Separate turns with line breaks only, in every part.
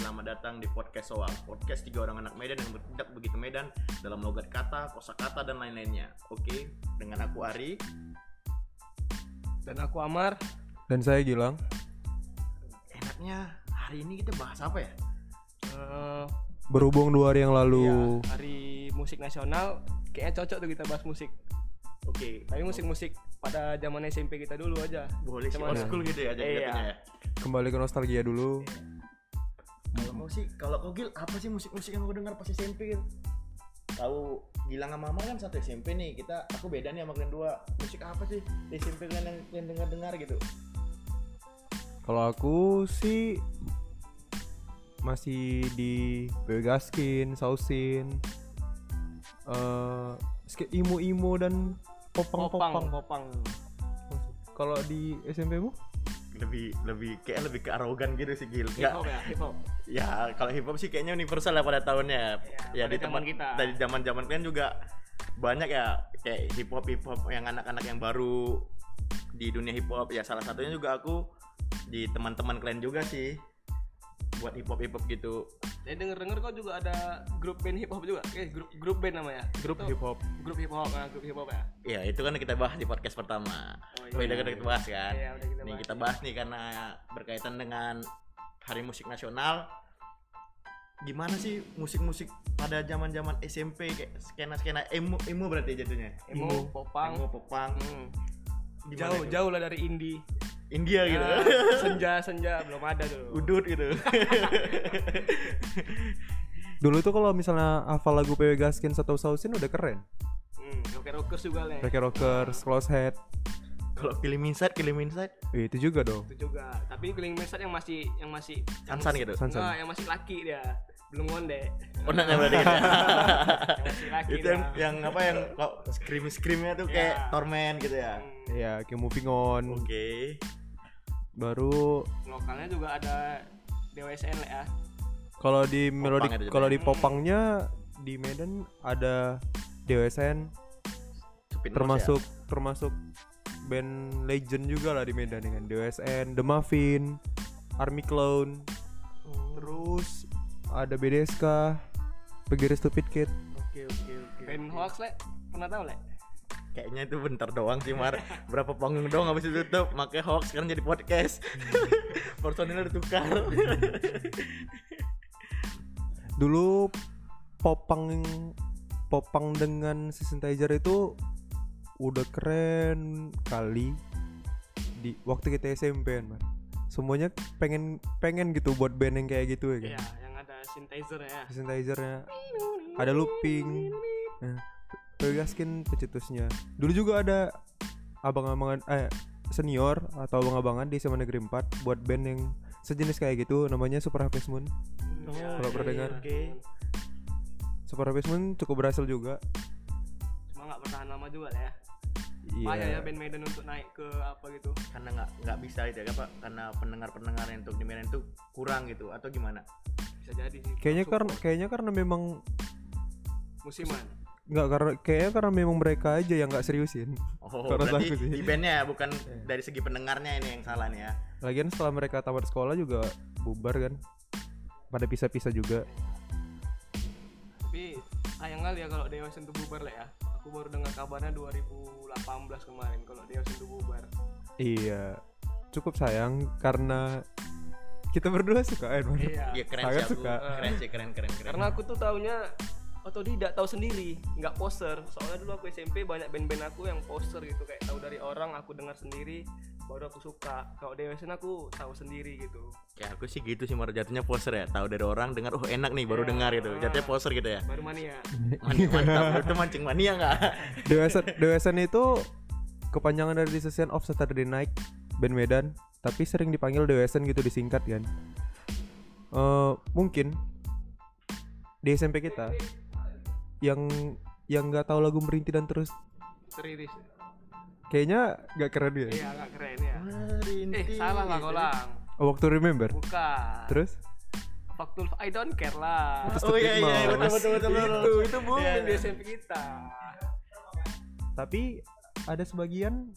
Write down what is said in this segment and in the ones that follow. selamat datang di podcast Soal. Podcast tiga orang anak Medan yang bertindak begitu Medan dalam logat kata, kosakata dan lain-lainnya. Oke, dengan aku Ari.
Dan aku Amar.
Dan saya Gilang.
Enaknya hari ini kita bahas apa ya?
Eh,
Berhubung dua hari yang lalu
iya, hari musik nasional kayaknya cocok tuh kita bahas musik.
Oke,
Tapi musik-musik pada zaman SMP kita dulu aja.
boleh sih
Cuman-
old school gitu ya jadi
Iya.
jatuhnya ya.
kembali ke nostalgia dulu.
Kalau kau sih, kalau kau Gil, apa sih musik-musik yang kau dengar pas SMP Gil? Tahu Gilang sama Mama kan satu SMP nih, kita aku beda nih sama kalian dua. Musik apa sih di SMP kalian yang kalian dengar-dengar gitu?
Kalau aku sih masih di BW Gaskin, Sausin, eh skate imo-imo dan
Popang,
popang-popang.
popang.
Kalau di SMP mu?
Lebih lebih kayak lebih ke arogan gitu sih Gil.
Hip
Nggak-
hop ya, hip hop.
Ya, kalau hip hop sih kayaknya universal ya pada tahunnya.
Ya,
Ya, di
pada zaman
tempat
kita.
Dari zaman-zaman kalian juga banyak ya kayak hip hop hip hop yang anak-anak yang baru di dunia hip hop. Ya salah satunya juga aku di teman-teman kalian juga sih buat hip hop hip hop gitu.
Saya denger-denger kok juga ada grup band hip hop juga. Eh, grup grup band namanya.
Grup
Itu
hip hop.
Grup hip hop, nah, grup hip hop ya.
Ya, itu kan kita bahas di podcast pertama.
Oh, iya.
Oh, iya, kita bahas kan.
Iya, udah kita
Nih
bahas.
kita bahas nih karena berkaitan dengan Hari Musik Nasional. Gimana sih musik-musik pada zaman-zaman SMP kayak skena-skena emo emo berarti jatuhnya.
Emo, popang.
Emo popang.
Hmm.
Gimana
Jauh,
itu?
jauh lah dari indie.
India gitu.
Ah, senja, senja belum ada tuh.
Udut gitu.
Dulu tuh kalau misalnya hafal lagu BW Gaskin atau Sausin udah keren.
Hmm, rocker rockers juga lah.
Rocker Rockers, Close Head,
Kalau film inside, film inside
Eh, itu juga dong.
itu juga tapi keliling mesat yang masih yang masih
Sansan gitu.
enggak
Sansan.
Nah, yang masih laki dia belum ngondek
Oh, nanya berarti gitu ya.
yang masih laki
itu yang, ya. yang apa yang kok scream screamnya tuh kayak
Ya.
torment gitu ya.
Ya, kayak Moving On.
Hmm.
Oke.
Baru
lokalnya juga ada DWSN lah
Iya.
ya
Kalau di melodi
ada juga
kalau
ya.
di popangnya di Medan ada DWSN
Supin Mas ya.
termasuk termasuk band legend juga lah di Medan dengan DWSN, The Muffin, Army Clown, terus ada BDSK, Pegiri Stupid Kid.
Oke, oke, oke.
band hoax lah pernah tahu lah
Kayaknya itu bentar doang sih Mar Berapa panggung doang habis itu tutup Makanya hoax sekarang jadi podcast Personilnya ditukar
Dulu popang popang dengan synthesizer itu udah keren kali di waktu kita SMP kan. Semuanya pengen pengen gitu buat band yang kayak gitu ya kan.
iya yang ada synthesizer ya
synthesizernya ada looping nah, Pegaskin pencetusnya dulu juga ada abang-abangan eh senior atau abang-abangan di SMA Negeri 4 buat band yang sejenis kayak gitu namanya Super Harvest Moon
Iya,
Oh, kalau
iya,
pernah dengar.
oke
Super Harvest Moon cukup berhasil juga
cuma nggak bertahan lama juga lah ya payah ya
iya
band Medan untuk naik ke apa gitu
Karena nggak nggak bisa itu ya Pak Karena pendengar-pendengar yang untuk di Medan itu kurang gitu Atau gimana
bisa jadi sih
kayaknya
Masuk
karena kayaknya karena memang
musiman
nggak karena kayaknya karena memang mereka aja yang nggak seriusin
Oh
Kurang
berarti
bagus sih.
di bandnya ya, bukan
Iya.
dari segi pendengarnya ini yang salah nih ya
lagian setelah mereka tamat sekolah juga bubar kan pada pisah-pisah juga
tapi sayang kali ya kalau DWSN itu bubar lah ya aku baru dengar kabarnya 2018 kemarin kalau DWSN itu bubar
Iya, cukup sayang karena kita berdua suka Iron Man.
iya
Iya keren
Sangat
sih aku
suka.
Keren sih keren keren keren
karena aku tuh taunya atau tidak tahu sendiri nggak poster soalnya dulu aku SMP banyak band-band aku yang poster gitu kayak tahu dari orang aku dengar sendiri baru aku suka kalau DWSN aku tahu sendiri gitu
Ya aku sih gitu sih Mar Jatuhnya poser ya Tahu dari orang dengar Oh enak nih
Iya.
baru dengar gitu Jatuhnya poser gitu ya
baru mania
Mantap, mantap. Itu mancing mania nggak?
Eh,
DWSN DWSN itu kepanjangan dari Session of Saturday Night Band Medan, tapi sering dipanggil DWSN gitu disingkat kan. Eh, mungkin di SMP kita yang yang nggak tahu lagu merintih dan terus
serius
kayaknya nggak keren ya.
iya nggak keren ya eh salah lah kolang
Waktu remember
bukan
terus
Faktul I don't care lah
Oh iya iya
Mas.
betul betul betul
itu
betul.
itu booming
Iya.
di SMP kita
tapi ada sebagian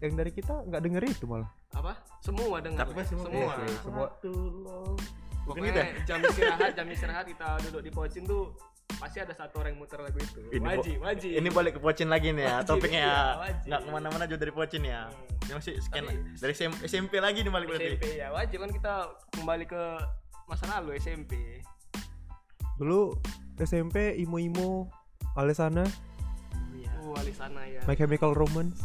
yang dari kita nggak denger itu malah.
apa semua dengar
Tapi semua
semua
dengar.
Semua.
Satu love. Bukan gitu
Pokoknya
ya?
jam istirahat, jam istirahat kita duduk di pocin tuh pasti ada satu orang yang muter lagu itu.
Ini bo-
wajib, wajib.
Ini balik ke pocin lagi nih ya,
Wajib,
topiknya
iya,
ya.
wajib.
Nggak kemana-mana juga dari pocin ya.
Hmm.
Ini masih scan
Tapi-
dari SM- SMP lagi nih balik berarti.
SMP ya wajib kan kita kembali ke masa lalu SMP.
Dulu SMP Imo-Imo Alesana
Iya. Uh, di sana ya.
My Chemical Romance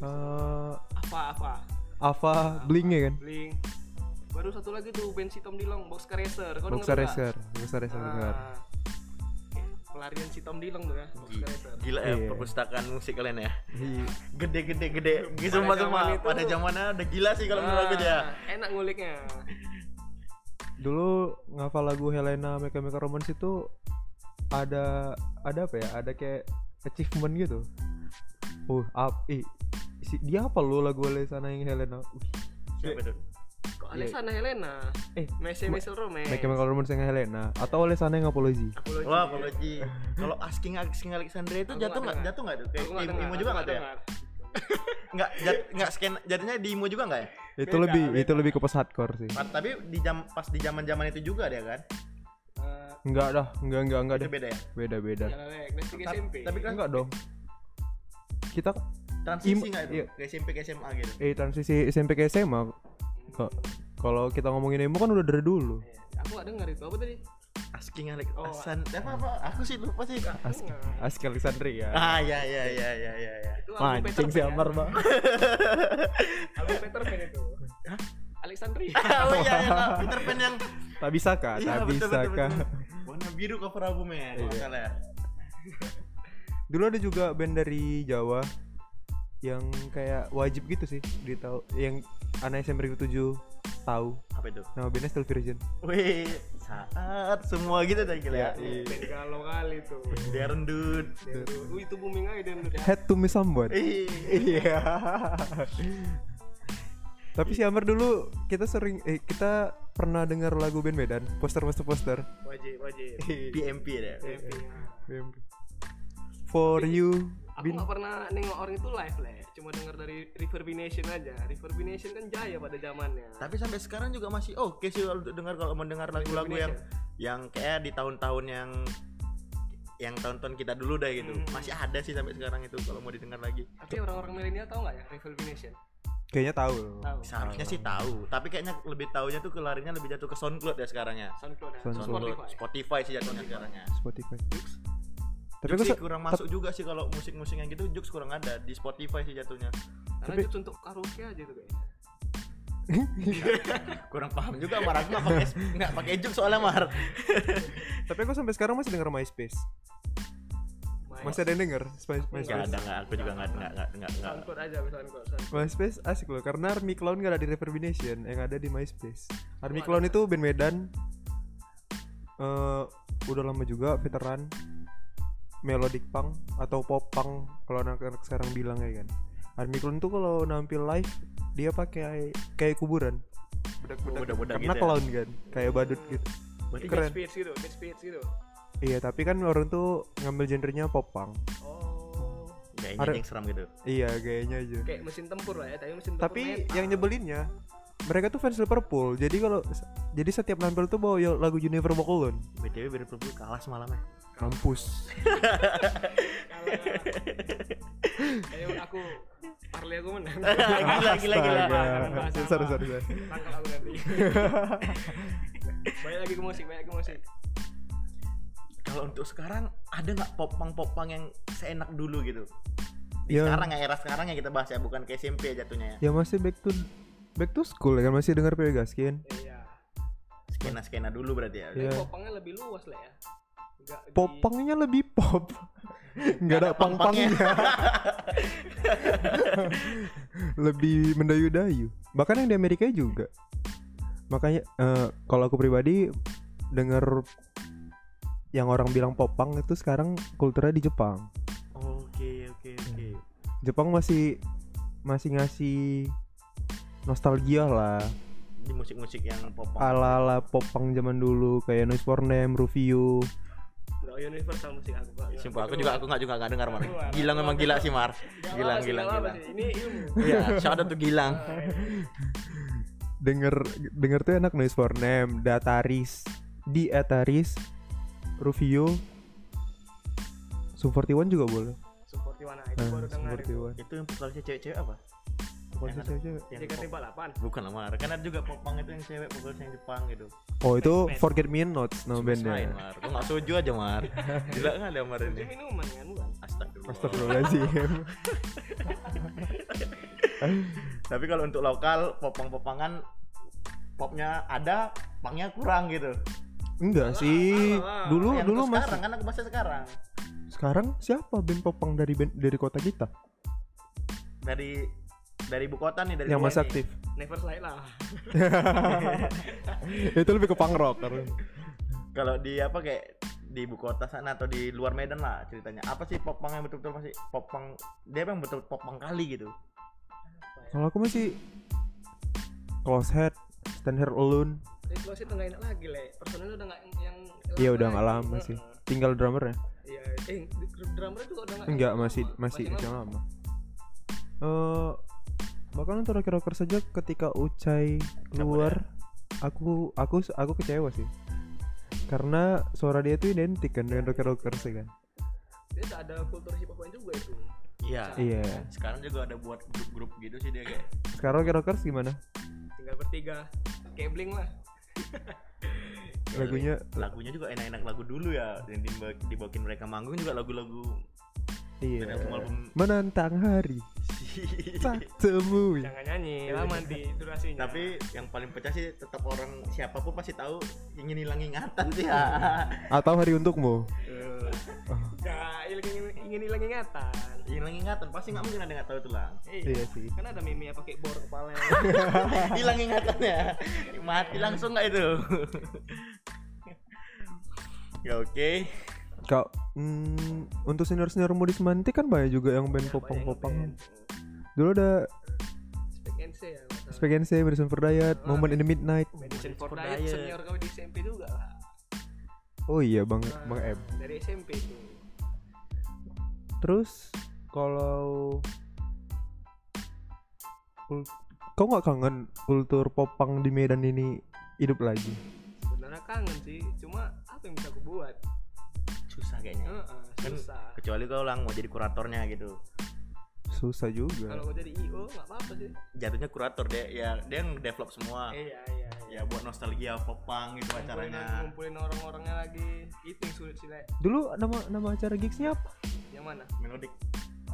eh
Apa apa?
Ava Bling ya kan
Bling. Baru satu lagi tuh Bensi Tom Dilong, Boxcar Racer. Kau
Boxer
denger nggak?
Racer Boxer Racer dengar.
Ah. Pelarian si Tom Dilong tuh ya, Boxcar Racer.
Gila ya
Iya.
perpustakaan musik kalian ya.
Iya.
Gede gede gede. Gitu
Pada
semua
zaman
semua.
itu-
Pada zamannya udah gila sih kalau menurut aku
Ah,
ya.
Enak nguliknya.
Dulu ngafal lagu Helena My Chemical Romance itu ada ada apa ya? Ada kayak achievement gitu. Uh, up, eh, si, dia apa lo lagu Alesana yang Helena? Uh,
Siapa tuh?
Kok
Iya.
Alexana Helena?
eh,
Messi Mesel Romance.
My Chemical Romance yang Helena atau Alesana yang Apology?
Apology.
Wah, apologi. Kalau asking asking Alexandria itu
Aku
jatuh
nggak
nggak?
dengar.
Jatuh nggak tuh? Kayak
Aku nggak
Im-
dengar,
Imo juga
aku
nggak tuh ya?
dengar.
Nggak, jat, nggak scan. Jadinya di Imo juga nggak ya?
Itu
Beda,
lebih
beda.
itu lebih ke post hardcore sih.
Pa- Tapi di jam pas di zaman zaman itu juga dia kan?
Eh,
Enggak dah, enggak enggak enggak
Itu
deh.
beda ya?
Beda beda.
Jalan Lek, kelas tiga
Ta-
SMP.
tapi kan
Enggak dong. Kita
transisi
Im-
nggak
iya.
itu? Ke SMP ke SMA gitu.
eh transisi SMP ke SMA kok kalau kita ngomongin emo kan udah dari dulu.
Iya, aku gak dengar itu apa tadi?
Asking Alex
Oh,
Asan. Apa apa? Aku sih lupa sih.
Ask
Dengar.
Ask Alexandria.
Ah ya ya ya ya ya ya.
Itu album
Mancing si
Peter Pan.
Amar, Bang.
Album Peter Pan itu.
Hah?
Alexandria.
oh iya ya, Kak. Peter Pan yang
Tak bisa kah?
Iya,
Tak
betul,
bisa
betul,
kah?
betul. warna biru cover albumnya kalau nggak
Iya.
salah ya.
Dulu ada juga band dari Jawa yang kayak wajib gitu sih ditau yang anak SMP negeri 7 tahu
Apa itu?
nama bandnya Still Virgin
Wih, saat semua gitu dah gila ya.
Band galau kali tuh.
Dia rendut.
Dendro. Uh, itu booming aja Dendro ya.
Head to me someone
Eh, Ih,
Iya. Tapi si Amar dulu kita sering eh kita pernah dengar lagu band Medan, poster-poster poster.
Wajib, wajib.
PMP deh.
Iya,
SMP.
For you
Aku
bin
gak pernah nengok orang itu live lah, cuma dengar dari Reverbination aja. Reverbination kan jaya pada zamannya.
tapi sampai sekarang juga masih oke sih kalau dengar kalau mendengar lagu-lagu yang yang kayak di tahun-tahun yang yang tahun-tahun kita dulu dah gitu
Hmm.
masih ada sih sampai sekarang itu kalau mau didengar lagi
Tapi orang-orang milenial tahu nggak ya Reverbination?
kayaknya tahu.
Tahu.
seharusnya sih tahu tapi kayaknya lebih taunya tuh kelarinya lebih jatuh ke SoundCloud ya sekarangnya
SoundCloud ya.
SoundCloud.
SoundCloud
Spotify.
Spotify sih jatuhnya sekarangnya
Spotify.
Jux.
Tapi
Jux
aku
sih
se-
ya, kurang masuk juga sih kalau musik-musik yang gitu Jux kurang ada di Spotify sih jatuhnya
Karena
Tapi-
Jux untuk karaoke aja tuh kayaknya.
Iya.
kurang paham juga Mar aku nggak pakai nggak pakai Jux soalnya Mar
tapi aku sampai sekarang masih denger MySpace.
Main
Masih ada yang denger Sp-
nggak
MySpace.
ada nggak aku juga nggak nggak nggak nggak nggak
SoundCloud aja, SoundCloud. SoundCloud.
MySpace asik loh karena Army Clown gak ada di Reverbination yang ada di MySpace. Army Clown itu band Medan eh udah lama juga veteran melodic punk atau pop punk kalau anak-anak sekarang bilang ya kan. Army Clown tuh kalau nampil live dia pakai kayak kuburan.
Budak-budak gitu ya.
karena clown kan, kayak badut gitu.
Berarti
Keren.
Keren. Speed gitu, Dead Speed gitu.
Iya, tapi kan orang tuh ngambil genrenya pop punk.
Oh.
kayaknya
Ada-
yang seram gitu
Iya, gayanya aja.
Kayak mesin tempur lah ya, tapi mesin tempur.
Tapi
metal.
yang nyebelinnya mereka tuh fans Liverpool. Jadi kalau jadi setiap nampil tuh bawa yo- lagu You Never Walk Alone.
BTW Liverpool kalah semalam ya
Kampus. ya-
Kalah, kalah. Ayo aku parli aku menang.
gila gila Ah, gila
Astaga. Sorry, sorry, sorry.
Tangkal aku nanti. banyak lagi ke musik, banyak lagi ke musik.
kalau untuk sekarang ada nggak popang popang yang seenak dulu gitu Di
Ya.
sekarang ya era sekarang ya kita bahas ya bukan ke SMP ya jatuhnya ya
Ya masih back to back to school ya kan masih dengar PW Gaskin.
Iya.
skena skena dulu berarti ya
Iya.
Tapi popangnya lebih luas lah ya. Enggak
Popangnya lebih pop. Enggak ada
Nggak ada pang-pangnya.
pang-pangnya. lebih mendayu-dayu. Bahkan yang di Amerika juga. Makanya eh, kalau aku pribadi denger yang orang bilang popang itu sekarang kulturnya di Jepang.
oke oke oke
Jepang masih masih ngasih nostalgia lah
di musik musik yang popang
ala ala popang zaman dulu kayak Noise for Name, Rufio.
Enggak universal musik aku, Pak. Nggak-
Sumpah aku juga aku nggak juga nggak dengar Mar.
Keluar,
Gilang
keluar,
memang gila sih Mar.
Nggak
Gilang Iya,
apa sih,
Gilang
nggak apa
Gilang.
sih. Ini ilmu.
Iya, shout out to Gilang.
denger denger tuh enak noise for name dataris di ataris rufio sum 41 juga boleh
support Iwana itu
nah,
baru
sum
dengar itu
41
itu yang vokalisnya cewek-cewek apa Yang
Vokalisnya
ada-
cewek-cewek?
yang pop-
JKT48
bukan lah Mar. kan ada juga popang itu yang cewek vokalis yang Jepang gitu
oh itu
Smash.
forget me notes nama
Selain
bandnya
Mar, lu gak setuju aja Mar Gila gak ada Mar
itu
Iya.
ini
minuman kan bukan
Astagfirullah,
Astagfirullahaladzim
Tapi kalau untuk lokal, popang-popangan Popnya ada, pangnya kurang gitu
enggak sih
alah.
dulu
Yang
dulu
untuk
mas
sekarang, kan aku bahasnya sekarang
sekarang siapa band popang dari band dari kota kita
Dari dari ibu kota nih dari
yang
gua
masih
nih.
aktif
never slide lah
itu lebih ke punk rock karena
kalau di apa kayak di ibu kota sana atau di luar Medan lah ceritanya apa sih popang yang betul-betul masih popang dia yang betul popang kali gitu
kalau aku masih close head stand here alone
Tapi close itu nggak enak lagi le personil udah nggak yang- yang
Iya
lama
udah nggak
lagi.
lama sih.
Heeh.
Tinggal drummernya.
iya eh drummer juga udah nggak
Enggak
lama.
masih masih
lama.
masih lama. Eh bahkan untuk rocker rocker saja ketika Ucai keluar ya? aku aku aku kecewa sih. Karena suara dia itu identik kan dengan rocker rocker sih kan.
dia tak ada kultur hip hop juga itu
iya
Iya.
sekarang juga ada buat grup-grup gitu sih dia kayak
Sekarang rocker rockers gimana?
tinggal bertiga kayak bling lah
Lagunya
lagunya juga enak-enak lagu dulu ya yang dibawa- dibawakin mereka manggung juga lagu-lagu dari
iya.
album-album
Menantang hari tak temui.
jangan nyanyi lama nanti durasinya
tapi yang paling pecah sih tetap orang siapapun pasti tahu ingin hilang ingatan sih ya
Atau hari untukmu.
eh,
Oh,
nggak hilang- ingin ingin hilang ingatan
hilang ingatan pasti nggak mungkin ada yang nggak tahu itu lah
Iya sih.
kan ada meme yang pakai bor kepala
hilang ingatannya mati langsung nggak itu ya oke
Kau hmm, untuk senior senior di semantik kan banyak juga yang band popang popang. Dulu ada
spek NC ya masalah.
Spagense, Madison Perdayat, Moment in the Midnight.
Medicine for
for
Diet
Diet.
senior kami di SMP juga lah
Oh iya Bang Bang M.
dari SMP itu
Terus kalau kul- kau nggak kangen kultur popang di Medan ini hidup lagi?
sebenarnya kangen sih cuma apa yang bisa aku buat
susah kayaknya
Heeh,
Kan
susah
kecuali kau lang mau jadi kuratornya gitu
Susah juga.
kalau gue jadi IO nggak apa-apa sih
jatuhnya kurator deh ya dia yang develop semua
iya iya iya
ya buat nostalgia popang gitu
Ngumpulin-
acaranya
ngumpulin orang-orangnya lagi itu yang sulit sih Le.
Dulu nama nama acara gigsnya apa?
yang mana
melodic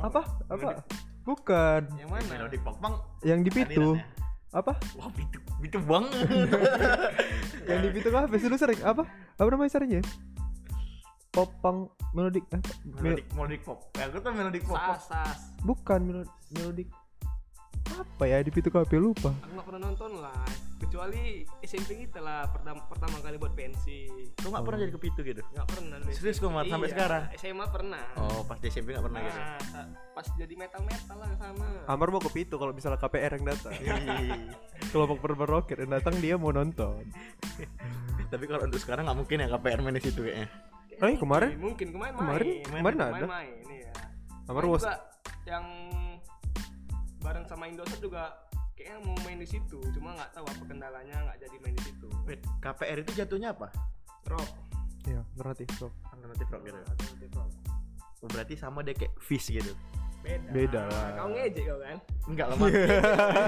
Apa? Apa? Bukan.
yang mana
melodic popang
Yang di Pitu.
Aliran ya?
Apa?
wah itu itu banget
Yang di Pitu apa? Dulu sering apa? Apa nama acaranya? Popang melodik apa? Mel-
melodic melodic pop ya aku tuh melodic pop
sas sas
bukan melo- melodik apa ya di Pitu KP lupa.
aku nggak pernah nonton lah kecuali SMP kita lah pertama pertama kali buat pensi
kau nggak pernah jadi kepitu gitu
nggak pernah lu
Serius kok, Mat? Sampai
Iya,
sekarang?
SMA pernah
oh pas di SMP nggak pernah gitu
Nah, sa- pas jadi metal metal lah sama
Amar mau ke Pitu kalau misalnya KPR yang datang.
Ih.
kelompok berber roket yang datang dia mau nonton
Tapi kalau untuk sekarang nggak mungkin ya KPR main di situ kayaknya.
eh kemarin
mungkin kemarin
Kemarin-
main
kemarin ada.
main, main, iya.
Amar
Main
was
juga yang bareng sama Indosat juga kayaknya mau main di situ cuma nggak tahu apa kendalanya nggak jadi main di situ
Wait, KPR itu jatuhnya apa?
rock
ya berarti so
Alternatif rock gitu. Oh,
Alternatif rock.
Berarti sama deh kayak fish gitu.
beda
Beda lah.
kau ngejek kau kan
Enggak lah, Mar.
Iya.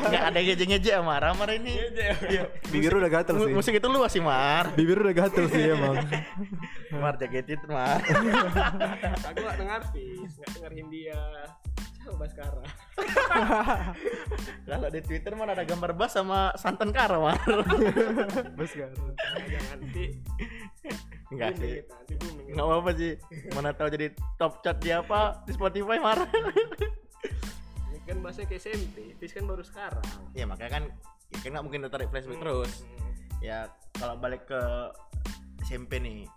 Enggak ada ngejek-ngejek ya, Mar. Mar ini. Iya.
bibir udah gatel
Mu-
sih
Musik itu luas sih, Mar.
bibir udah gatel sih emang
Mar jaket itu, Mar.
aku nggak dengar artis nggak dengar Hindia coba sekarang
Kalau di Twitter Mar ada gambar bas sama santan kara, Mar.
mas gatel
jangan nanti
Enggak
booming
sih.
Iya.
kita, nanti booming
Enggak apa-apa sih. Mana tahu jadi top chart di apa di Spotify, Mar.
ini kan bahasanya kayak SMP Fis kan baru sekarang
ya makanya kan ya kan nggak mungkin tertarik flashback terus.
Hmm.
Ya kalau balik ke SMP nih,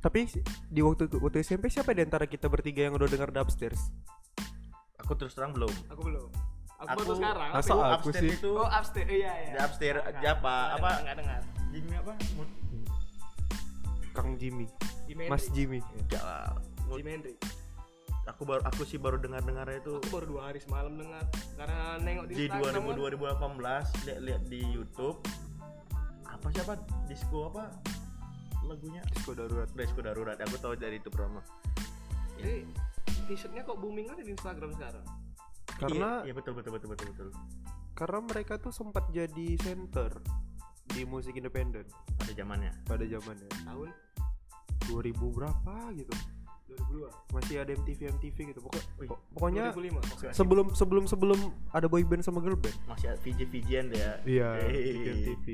tapi di waktu waktu SMP siapa di antara kita bertiga yang udah dengar upstairs
aku terus terang belum.
aku belum aku, baru sekarang
Masa
aku
aku
upstairs
sih?
itu
oh upstairs iya iya
Di upstairs,
Nggak,
di apa,
nggak
apa?
dengar, nggak dengar
Jimmy apa? Mut-
Kang Jimmy
Jimi
Mas
Hendrix.
Jimmy
Iya. Enggak lah. Mut-
Jimi Hendrix
aku baru aku sih baru dengar dengarnya itu
aku baru dua hari semalam dengar karena nengok di,
di
Instagram kan.
2000 2018 lihat-lihat di YouTube apa siapa disco apa lagunya
Disco darurat.
disco darurat aku tahu dari itu promo
kan. jadi t-shirtnya kok booming aja di Instagram sekarang
Karena
iya, iya betul betul betul betul betul
karena mereka tuh sempat jadi center di musik independen
ada zamannya
pada zamannya
tahun
2000 berapa gitu
2002
masih ada MTV MTV gitu Pokok-
Wih,
po- pokoknya
2005
Masih-
sebelum sebelum sebelum ada boy band sama girl band
masih VJ VJan tuh ya
di
Hey,
MTV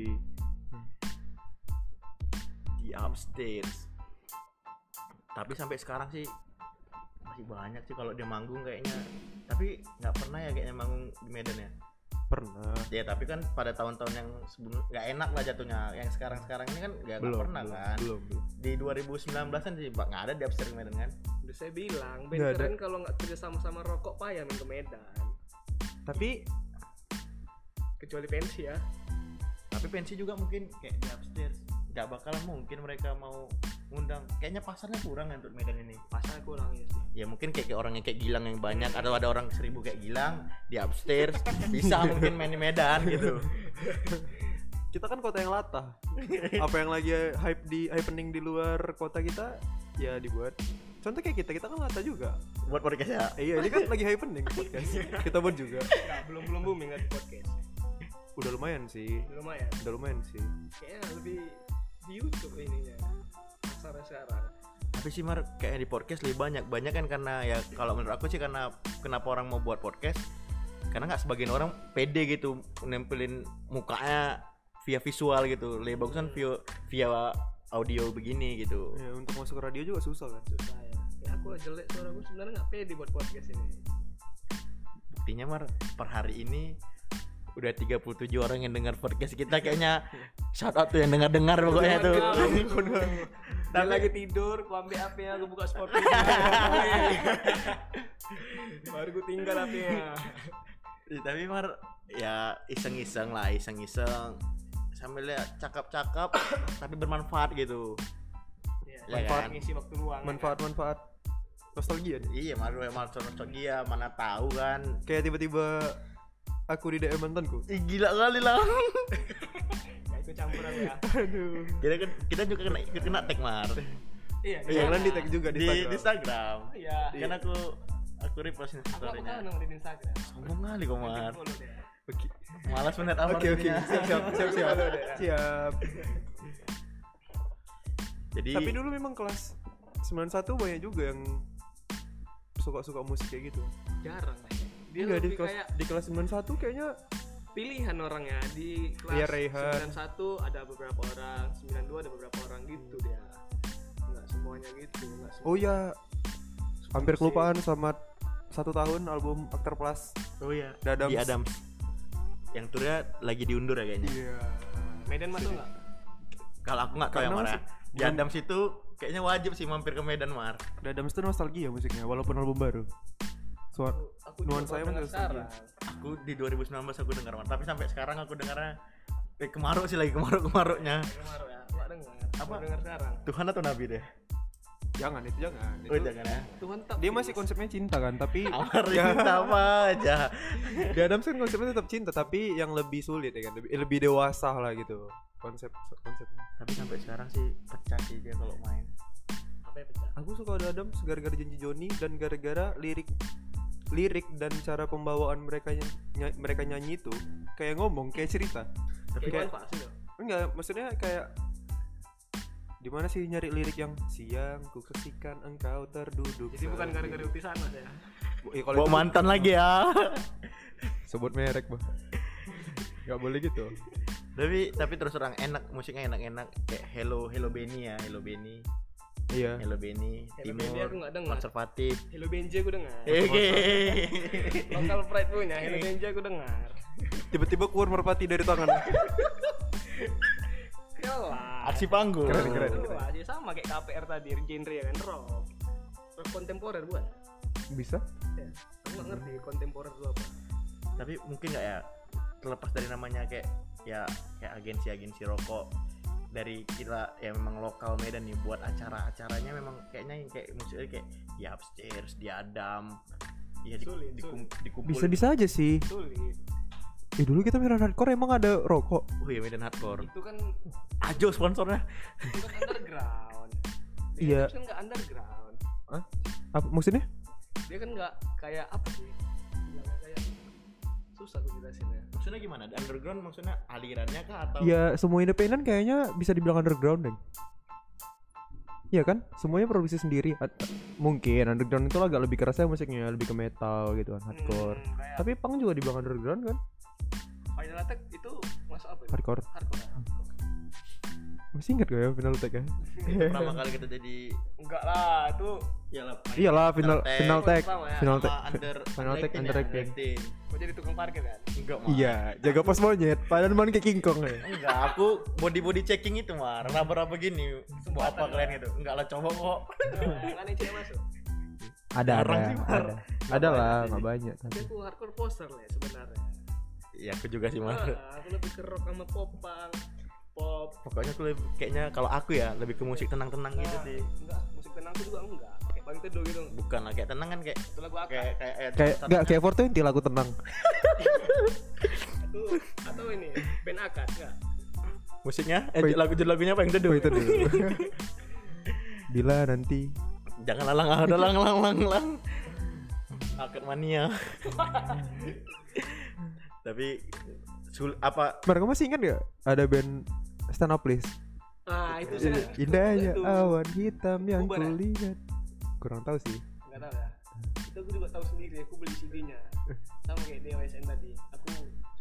di upstairs tapi sampai sekarang sih masih banyak sih kalau dia manggung kayaknya tapi nggak pernah ya kayaknya manggung di Medan ya
pernah
ya tapi kan pada tahun-tahun yang sebelum nggak enak lah jatuhnya yang sekarang-sekarang ini kan nggak nggak
belum
pernah
belum,
kan
belum, belum.
di 2019 kan sih Pak, nggak ada di upstairs Medan kan
udah saya bilang band
Nggak ada.
keren kalau nggak kerja sama sama rokok payah main ke Medan
tapi
kecuali pensi ya
tapi pensi juga mungkin kayak di upstairs nggak bakalan mungkin mereka mau ngundang kayaknya pasarnya kurang ya untuk Medan ini pasar
saya kurang ya sih
ya mungkin kayak, kayak orang yang kayak Gilang yang banyak atau ada orang seribu kayak Gilang di upstairs bisa mungkin main di Medan gitu
kita kan kota yang latah apa yang lagi hype di happening di luar kota kita ya dibuat contoh kayak kita kita kan latah juga
buat podcast ya
eh, iya ini kan lagi happening podcast kita buat juga
Nggak, belum belum booming kan podcast
udah lumayan sih
lumayan
udah lumayan sih
kayaknya lebih di YouTube ininya pasarnya sekarang
tapi sih Mar kayaknya di podcast lebih banyak banyak kan karena ya kalau menurut aku sih karena kenapa orang mau buat podcast karena nggak sebagian orang pede gitu nempelin mukanya via visual gitu lebih bagus kan via via audio begini gitu
ya, untuk masuk ke radio juga susah kan
susah ya ya aku lah jelek suara gue sebenarnya nggak pede buat podcast ini
buktinya Mar per hari ini udah 37 orang yang dengar podcast kita kayaknya shout out tuh yang dengar-dengar pokoknya ya tuh
dan
Iya.
lagi tidur aku ambil HP nya aku buka Spotify baru gue tinggal HP nya
Ya, tapi Mar ya iseng-iseng lah iseng-iseng sambil lihat cakap-cakap tapi bermanfaat gitu Ya
manfaat
kan?
ngisi waktu luang
manfaat manfaat nostalgia nih
iya Mar emang nostalgia mana tahu kan
kayak tiba-tiba aku di DM mantanku
Ih, gila kali lah
ya itu campuran ya
aduh
kita, kan- kita juga kena ikut kena tag Mar
iya
yang
gimana?
lain di tag juga di
di, di
Instagram
Instagram
iya
kan aku aku repost
aku aku kan
storynya
nomor di Instagram
sombong kali kok Mar
Follow deh.
oke
malas bener apa
oke oke
artinya.
siap siap siap siap siap
jadi
tapi dulu memang kelas 91 banyak juga yang suka-suka musik kayak gitu
jarang kayaknya dia
Enggak, di
lebih
kelas
kayak
di kelas 91 kayaknya
pilihan orangnya di
Iya,
kelas
Rehan.
91 ada beberapa orang 92 ada beberapa orang gitu dia nggak semuanya gitu nggak semua
oh ya hampir kelupaan sama satu tahun album Aktor Plus
oh iya
The Adams.
di Adams yang turnya lagi diundur ya kayaknya
iya
Medan masuk nggak
kalau aku nggak tahu ya
Karena
Mar ya.
masih-
di Adams itu kayaknya wajib sih mampir ke Medan Mar
Dadams itu nostalgia ya musiknya walaupun album baru Suara
aku
nuansa
saya
emang
dengar
terus
sekarang
aku di 2019 aku dengar Mar tapi sampai sekarang aku dengarnya eh, kemaruk sih lagi kemaruk kemaruknya
kemarin ya nggak dengar apa dengar sekarang
Tuhan atau Nabi deh
jangan itu jangan
oh
Itu-
jangan ya
Tuhan tetap
dia masih konsepnya cinta kan tapi
Amar cinta apa aja
The Adams kan konsepnya tetap cinta tapi yang lebih sulit ya kan lebih, lebih dewasa lah gitu konsep konsepnya
tapi sampai sekarang sih pecah sih dia kalau main
apa ya, yang pecah
aku suka The Adams gara-gara janji Joni dan gara-gara lirik lirik dan cara pembawaan mereka ny- ny- mereka nyanyi itu kayak ngomong kayak cerita
tapi
kayak
kayak
Pak sih loh
enggak maksudnya kayak di mana sih nyari lirik yang siang ku kesikan engkau terduduk
jadi bukan gara-gara
sendiri."
uti sana ya
Eh, kalau
bawa
itu
mantan lagi ya
sebut merek bah nggak boleh gitu
tapi tapi terus terang enak musiknya enak-enak kayak Hello Hello Benny ya Hello Benny
iya
Hello Benny Timur
Hello Benny aku nggak dengar.
konservatif
Hello Benji aku dengar
Eh.
Oke.
Local Pride punya Hello Benji aku dengar
tiba-tiba keluar merpati dari tangan
kelas
aksi panggung
Keren, keren, keren.
Wah, dia sama kayak KPR tadi genre ya kan rock rock kontemporer bukan
bisa
ya aku nggak ngerti kontemporer itu apa
tapi mungkin nggak ya terlepas dari namanya kayak ya kayak agensi agensi rokok dari kita ya memang lokal Medan nih buat acara-acaranya memang kayaknya yang kayak musiknya kayak di upstairs, di Adam, ya di,
Sulit,
dikum- dikumpulin.
Bisa-bisa aja sih.
sulit
Eh dulu kita Medan Hardcore emang ada rokok.
Oh iya Medan Hardcore.
itu kan
Ajo sponsornya.
itu kan underground dia
Iya.
kan nggak underground
Apa maksudnya?
dia kan nggak kayak apa sih bilangnya kayak susah ya. gue jelasinnya
Maksudnya gimana? Underground maksudnya alirannya kah atau
Ya semua independen kayaknya bisa dibilang underground deh. Iya kan? Semuanya produksi sendiri. At- Mungkin underground itu agak lebih kerasnya musiknya, lebih ke metal gitu kan, hardcore.
Hmm, kayak
Tapi punk juga dibilang underground kan?
final attack itu masuk apa itu?
Hardcore.
hardcore ya?
Masih ingat gak ya final tag ya?
pertama kali kita jadi
enggak lah itu
ya lah
Iyalah final
Tag.
final tag,
Pertama ya,
Iya final tag.
sama under
Final Tech,
18 ya,
Under 18.
18.
gue jadi tukang parkir kan
Enggak Mar.
Iya, jaga pos monyet. Padahal main kayak King Kong ya.
Enggak, aku body body checking itu mah raba-raba gini. Mau apa kalian itu? Enggak lah coba kok.
kan yang cewek masuk
Ada ada.
Jarang sih, Mar.
Ada,
Nggak
ada lah,
banyak sih.
nggak banyak. tapi.
tapi aku hardcore poster lah sebenarnya
Iya, aku juga sih
Ah,
mah.
aku lebih ke rock sama pop punk pop
Pokoknya aku lebih- kayaknya kalau aku ya lebih ke musik tenang-tenang gitu
Ah,
sih.
enggak musik tenang tuh juga enggak kayak bang teduh gitu
Bukan lah kayak tenang kan kayak
itu lagu akar
kayak kayak eh,
Kayak
tenang-
nggak kayak 420 lagu tenang.
atau atau ini band akar enggak
musiknya eh,
Wait.
lagu lagunya apa yang teduh?
Oh, itu dulu. Bila nanti
Jangan lalang ada lang lang lang lang. Akad mania. Tapi sul apa
mereka masih ingat gak ada band stand up list
ah
Iya,
itu sih
indahnya
itu.
awan hitam yang
Bubar ya?
kulihat kurang tahu sih
enggak tahu ya itu aku juga tahu sendiri aku beli CD-nya sama kayak DWSN tadi aku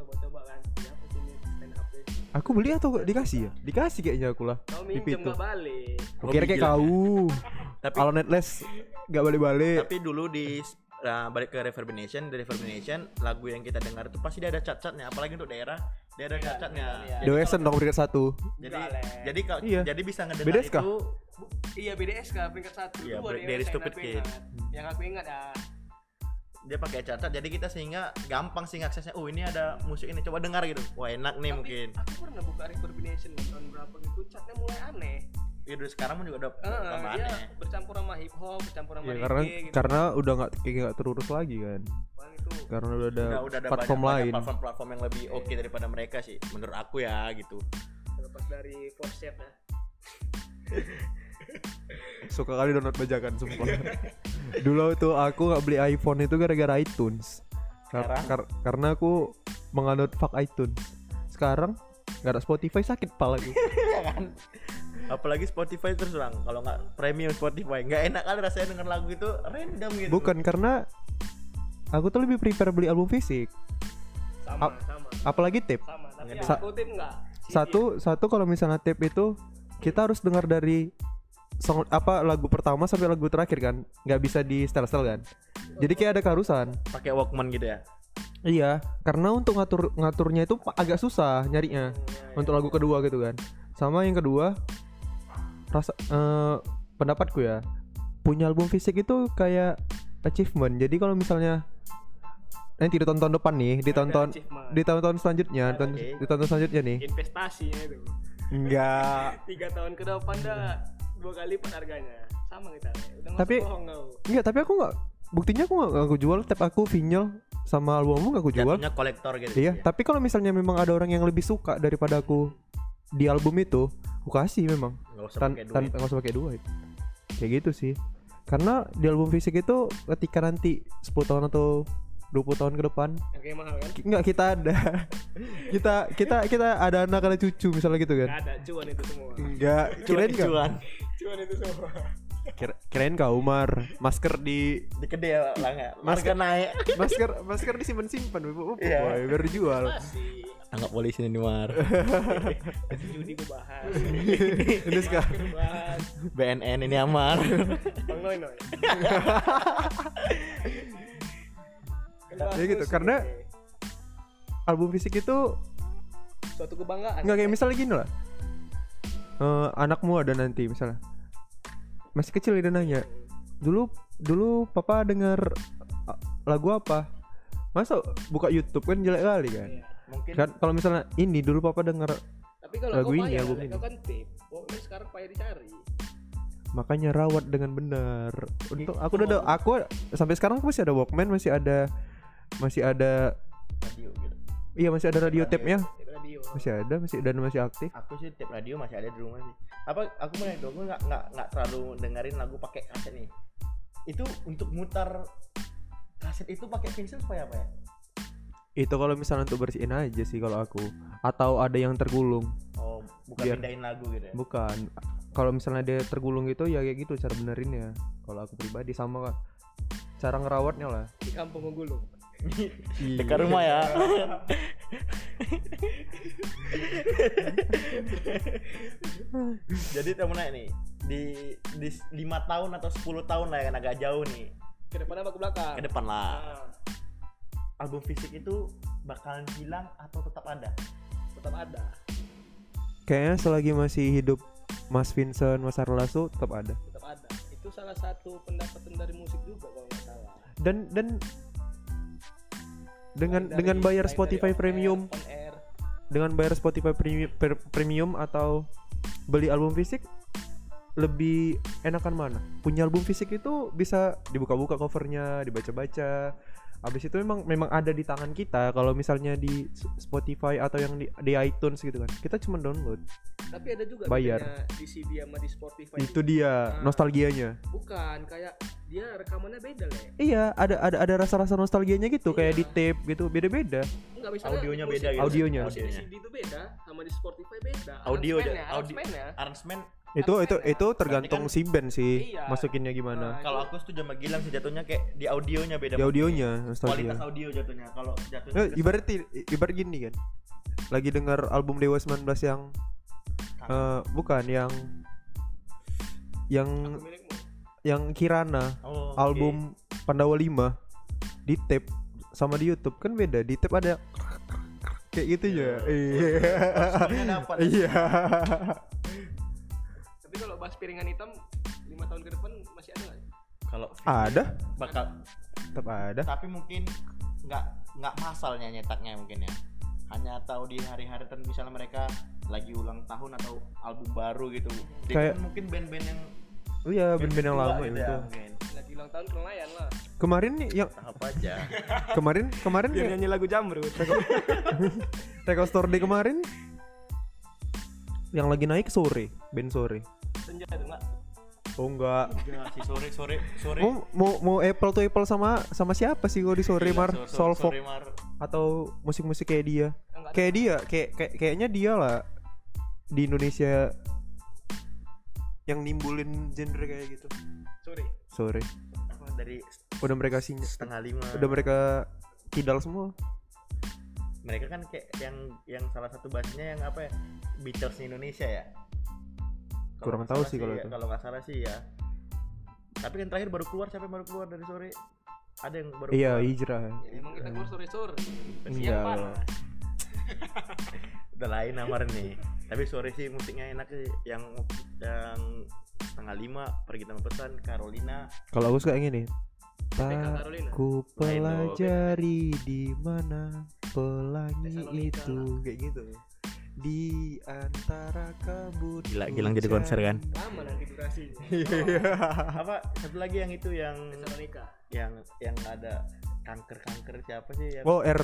coba-coba kan ya aku sini stand up deh
aku beli atau gak? dikasih ya dikasih kayaknya aku lah
kau
Pipi
minjem
tuh.
nggak balik
Aku kira kayak
Gila.
kau
Tapi-
kalau netless gak balik-balik
tapi dulu di nah, balik ke Reverbination dari Reverbination lagu yang kita dengar itu pasti dia ada cat-catnya apalagi untuk daerah dia ada cat-catnya
iya.
Jadi-
Dewesen dong peringkat satu
jadi
Enggak, Le.
jadi kalau
Iya.
jadi bisa ngedengar
Bedes kah?
itu
Bu- iya BDS kak peringkat satu
Iya,
dua
ber-
DWSN
dari Stupid
aku
Kid.
ingat. yang aku ingat ya
dia pakai cat-cat jadi kita sehingga gampang sih aksesnya oh ini ada musik ini coba dengar gitu wah enak nih
Tapi
mungkin
aku pernah buka recombination tahun berapa gitu catnya mulai aneh
ya dari sekarang pun juga udah
Eh,
udah
dia
aneh
bercampur sama hip hop bercampur sama
ya,
reggae
karena
gitu
karena udah nggak kayak nggak terurus lagi kan
Paling itu
karena udah ada
udah udah ada
Eh, platform
banyak,
lain
banyak platform-platform yang lebih oke
Iya.
daripada mereka sih menurut aku ya gitu
terlepas dari forcep ya
suka kali download bajakan sumpah dulu tuh aku nggak beli iPhone itu gara-gara iTunes Kar-
Sekarang?
kar- karena aku menganut fuck iTunes sekarang nggak ada Spotify sakit pala gue
apalagi Spotify terus terang kalau nggak premium Spotify nggak enak kali rasanya denger lagu itu random gitu
bukan karena aku tuh lebih prepare beli album fisik
sama
Ap-
sama
apalagi tape
sama tapi
Ah. Sa-
aku tim enggak CD.
satu satu kalau misalnya tape itu kita harus dengar dari song apa lagu pertama sampai lagu terakhir kan nggak bisa di setel-setel kan jadi kayak ada keharusan
pakai Walkman gitu ya
Iya, karena untuk ngatur ngaturnya itu pa- agak susah nyarinya untuk lagu kedua gitu kan. Sama yang kedua, rasa eh, pendapatku ya, punya album fisik itu kayak achievement. Jadi kalau misalnya nanti di tahun-tahun depan nih, di tahun-tahun
achievement.
di tahun-tahun selanjutnya, di tahun-
Oke.
di tahun selanjutnya nih.
investasinya itu
Enggak.
tiga tahun ke depan dah dua kali lipat harganya sama kita Le. udah nggak
Tapi-
usah bohong kau
Enggak, tapi aku nggak buktinya aku nggak nggak aku jual tab aku vinyl sama albummu nggak aku jual.
jatuhnya kolektor gitu
Iya,
ya.
tapi kalau misalnya memang ada orang yang lebih suka daripada aku di album itu, aku kasih memang.
nggak usah
Tan
pakai duit
tanpa nggak usah pakai duit. Kayak gitu sih. Karena di album fisik itu ketika nanti 10 tahun atau 20 tahun ke depan
yang kayak mahal kan
ki- nggak kita ada kita kita kita ada anak ada cucu misalnya gitu kan
Gak ada cuan itu semua
enggak kirain nggak?
cuan
cuan itu semua
Kira- kirain kau Umar masker di
di gede ya lah nggak masker naik
masker masker disimpan simpan bu
Iya.
biar dijual
masih
tangkap polisi nih mar
masih judi gue bahas
ini sekarang
Gue bahas
BNN ini amar
bang noy noy
Ya gitu, karena- album fisik itu
suatu kebanggaan
Nggak Kan kayak misalnya gini lah Eh, Anakmu ada nanti misalnya Masih kecil dia nanya Dulu dulu papa denger eh, lagu apa Masa buka Youtube kan jelek kali kan
Iya.
mungkin
Kan kalau misalnya ini dulu papa denger
Tapi
Tapi kalau
Lagu
kau
ini,
payah,
lagu
Lek,
ini.
kau kan tip. Oh, ini sekarang payah dicari.
makanya rawat dengan benar. Untuk aku udah ada, aku sampai sekarang aku masih ada Walkman, masih ada masih ada
radio gitu
iya masih ada radio
Radio.
tape-nya,
Tip radio.
masih ada, masih dan masih aktif.
aku sih tiap radio masih ada di rumah sih apa aku mulai dong aku nggak nggak nggak terlalu dengerin lagu pakai kaset nih itu untuk mutar kaset itu pakai pensil supaya apa ya
Itu kalau misalnya untuk bersihin aja sih kalau aku atau ada yang tergulung.
oh bukan
Biar-
pindahin lagu gitu ya
Bukan. Kalau misalnya dia tergulung gitu ya kayak gitu cara benerinnya. Kalau aku pribadi sama Kak. cara ngerawatnya lah.
Di kampung menggulung. Iya.
dekat rumah ya jadi kamu naik nih di di lima tahun atau 10 tahun lah yang agak jauh nih
Ke depan apa ke belakang?
ke depan lah
Ah,
album fisik itu bakalan hilang atau tetap ada
tetap ada.
Kayaknya selagi masih hidup Mas Vincent, Mas Arlasu tetap ada.
Tetap ada. Itu salah satu pendapatan dari musik juga kalau nggak salah.
Dan dan dengan
Selain
dengan
dari-
bayar
selain dari on
Spotify
air-
premium,
on air.
dengan bayar Spotify premi- per- premium atau beli album fisik lebih enakan mana? Punya album fisik itu bisa dibuka-buka covernya, dibaca-baca. Habis itu memang memang ada di tangan kita kalau misalnya di S- Spotify atau yang di, di iTunes gitu kan. Kita cuma download.
Tapi ada juga
Bayar.
bedanya di CD sama di Spotify.
Itu
Ah.
dia nostalgianya.
Bukan kayak dia rekamannya beda, Le.
Iya, ada ada ada rasa-rasa nostalgianya gitu kayak
Iya.
di tape gitu, beda-beda.
Enggak misalnya
Audionya
musik-
beda gitu.
Audionya.
Musik di
Audionya.
CD itu beda sama di Spotify beda. ya,
Audio aja,
Arrangementnya-
audio.
arrangementnya.
arrangement
Itu itu
Arrangementnya.
itu tergantung
Berarti
si band sih
Iya. iya.
masukinnya gimana.
Nah,
kalau aku setuju sama Gilang sih jatuhnya kayak di audionya beda
Di audionya nostalgia.
kualitas audio jatuhnya kalau jatuhnya
Eh, ibarat i- ibarat gini kan. Lagi denger album Dewa 19 yang eh bukan yang yang
Aku milikmu.
yang Kirana
Oh, oke.
album Pandawa 5 di tape sama di YouTube kan beda. Di tape ada kayak gitu ya. Iya.
Semuanya dapat.
Iya.
Tapi kalau bahas piringan hitam 5 tahun ke depan masih ada nggak?
kalau
Ada,
bakal
tetap ada.
tapi mungkin nggak nggak masalnya nyetaknya mungkin ya hanya tahu di hari-hari tertentu misalnya mereka lagi ulang tahun atau album baru gitu Dia
Kayak-
kan mungkin band-band yang
Oh iya, band-band yang
tua
lama
gitu
itu.
ya, mungkin.
Lagi ulang tahun kenayan lah.
Kemarin nih, yang
tahap aja
kemarin kemarin
Iya,
Dia
kayak
nyanyi lagu jamrut.
Record Store Day kemarin yang lagi naik sore, band sore.
Senja itu enggak?
Oh enggak.
Enggak Iya, sih sore sore sore
Mau mau mau apple to apple sama sama siapa sih gue di
Iya,
sore mar
Sore- sore-
soul folk
sore, Mar.
atau musik-musik kayak dia.
Enggak.
Kayak dia, kayak kayak- kayaknya dia lah di Indonesia yang nimbulin genre kayak gitu.
Sorry.
Sore.
Apa, dari
Udah mereka sinyal,
setengah lima
udah mereka kidal semua.
mereka kan kayak yang yang salah satu basnya yang apa ya Beatles Indonesia ya Kalau
Kurang
nggak
tahu
salah
sih kalau
ya,
itu.
kalau nggak salah sih ya tapi yang terakhir baru keluar siapa yang baru keluar dari sore ada yang baru
Iya,
keluar
hijrah.
Ya, emang kita keluar sore-sore.
Enggak.
panas.
udah lain amar nih tapi sore sih musiknya enak sih yang yang setengah lima pergi tanpa pesan Carolina
Kalau aku suka yang ini.
PK
Tak
Carolina.
Ah, ku
Lain dong.
pelajari di mana pelangi
Thessalonica.
nah.
itu kayak gitu. Di antara kabut.
Gila, Gilang jadi konser kan?
Lama nanti durasinya.
Iya.
Iya, apa satu lagi yang itu yang
Thessalonica.
yang yang ada kanker kanker siapa sih yang
Oh, R.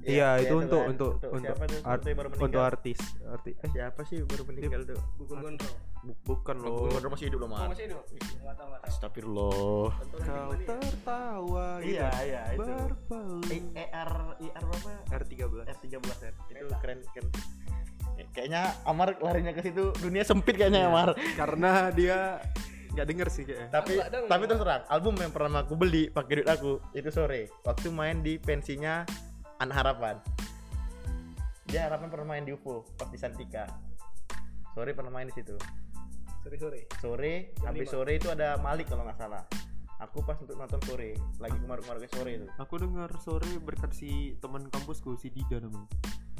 Ya,
Iya,
ya
itu untuk
kan.
untuk untuk
siapa tuh
art-
untuk yang baru
untuk
meninggal?
artis. Arti eh
siapa sih baru meninggal tuh
Gugun Gondrong.
bukan
Loh,
loh.
masih hidup loh,
Oh, masih hidup? Enggak tahu, enggak tahu.
Astagfirullah.
Tontonan di
Kau
mana ya?
tertawa gitu.
Iya, iya itu.
Berpeluh.
I- ER IR berapa?
R13.
R13 ya. Itu keren keren. Eh, Kayaknya Amar larinya ke situ dunia sempit kayaknya Amar.
Iya. Karena dia nggak denger sih kayaknya.
tapi
Enggak dong.
tapi terus terang album yang pernah aku beli pakai duit aku itu sore waktu main di pensinya anak harapan dia harapan pernah main di UFO pas di Santika sore pernah main di situ
Sore-sore.
sore
Jam
habis
lima.
sore itu ada Malik kalau nggak salah aku pas untuk nonton sore lagi kemarin-kemarin sore itu
Aku dengar sore berkat si teman kampusku si Dida namanya.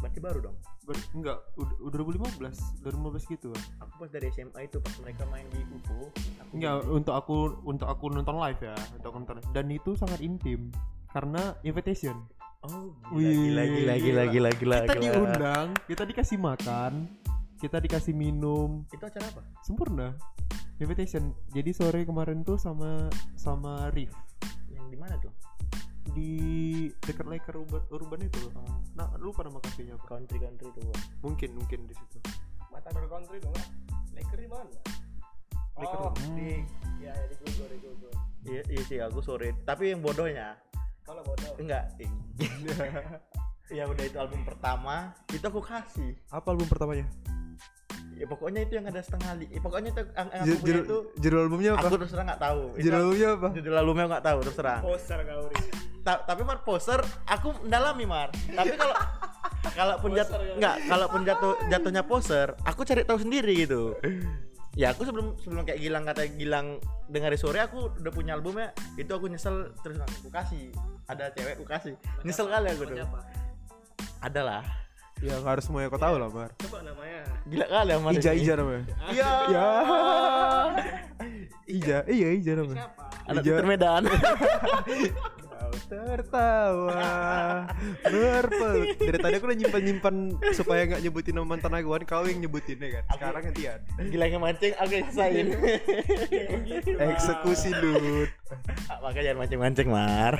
berarti baru dong
Ber- enggak, udah, udah 2015, 2015 gitu kan.
aku pas dari SMA itu pas mereka main di UFO aku
Enggak,
beli.
untuk aku ya, untuk aku nonton live ya, untuk aku nonton. Dan itu sangat intim karena invitation.
Oh,
Wih,
gila, gila, gila, gila, gila,
kita
gila.
diundang, kita dikasih makan, kita dikasih minum,
Itu acara apa?
sempurna. Invitation. Jadi sore kemarin tuh sama sama Rif
Yang di mana tuh?
di dekat Laker urban, urban itu loh. Nah, lupa nama kafenya apa?
Country country tuh.
Hmm.
Bang.
Mungkin mungkin di situ.
Matador Country dong nggak? Laker di mana?
Laker,
Oh,
hmm.
di ya, ya di Google, di Google.
Iya, iya sih aku sore. Tapi yang bodohnya
Kalau bodoh.
enggak. ya udah itu album pertama itu aku kasih.
Apa album pertamanya?
Ya pokoknya itu yang ada setengah li. ya, pokoknya itu yang, yang aku
Ju-
punya
Judul
itu
judul albumnya
aku
apa?
terus terang nggak tahu. Itu
Judul albumnya apa?
judul albumnya nggak tahu terus terang.
Oh,
Poster kau Ri.
Ta- tapi mar poser aku mendalami mar tapi kalau kalau pun jat-
Poser, ya.
nggak kalau pun jatuh jatuhnya poser aku cari tahu sendiri gitu ya aku sebelum sebelum kayak Gilang kata Gilang dengar sore aku udah punya albumnya itu aku nyesel terus aku kasih ada cewek aku kasih nyesel kali aku tuh
Siapa?
ada lah
Ya nggak harus semuanya kau tahu lah, Mar.
Coba namanya.
gila kali Mar
Ija
ini.
Ija namanya.
iya
Ya. Ija, iya Ija namanya.
Siapa?
anak
Ija.
Twitter Medan
Kau tertawa berpeluk dari tadi aku udah nyimpan nyimpan supaya nggak nyebutin nama mantan aku kan kau yang nyebutin ya kan sekarang gantian
Gilang yang mancing aku yang selesaiin
eksekusi dud
makanya jangan mancing-mancing Mar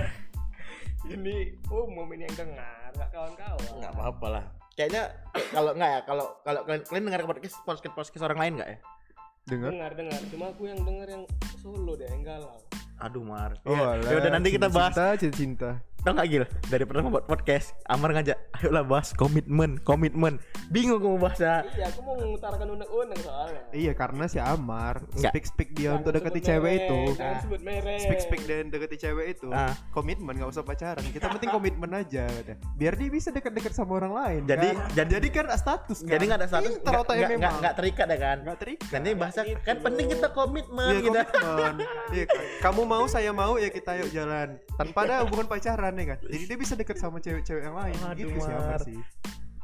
Ini umum ini yang dengar, nggak kawan-kawan.
nggak apa-apa lah kayaknya kalau nggak ya kalau kalau kalian, kalian dengar podcast podcast podcast orang lain nggak ya
dengar
Dengar dengar, cuma aku yang dengar yang solo deh, yang galau.
aduh Mar
oh
ya udah nanti kita bahas
cinta cinta, cinta.
tau nggak Gil daripada membuat podcast Amar ngajak ayolah bahas komitmen komitmen bingung aku mau ya. bahasnya
Iya, aku mau mengutarakan unek-unek soalnya.
iya karena si Amar
Nggak.
speak speak dia
Jangan
untuk deketi
sebut
cewek
merek,
itu
Jangan
Nah.
sebut merek.
speak speak dan deketi cewek itu
Ah.
komitmen nggak usah pacaran kita penting komitmen aja kata. biar dia bisa dekat-dekat sama orang lain
Jadi-
kan?
jadi-
jadi kan status kan?
jadi nggak ada status
Pintar
nggak-
otaknya
nggak nggak-
memang.
nggak terikat ya kan
nggak terikat
nanti bahasa kan penting kita komitmen
Iya
gitu
komitmen. Iya kan. Kamu mau saya mau ya kita yuk jalan. Tanpa ada hubungan pacaran ya kan. Jadi dia bisa deket sama cewek-cewek yang lain.
Aduh,
gitu sih Amar
Mar.
sih.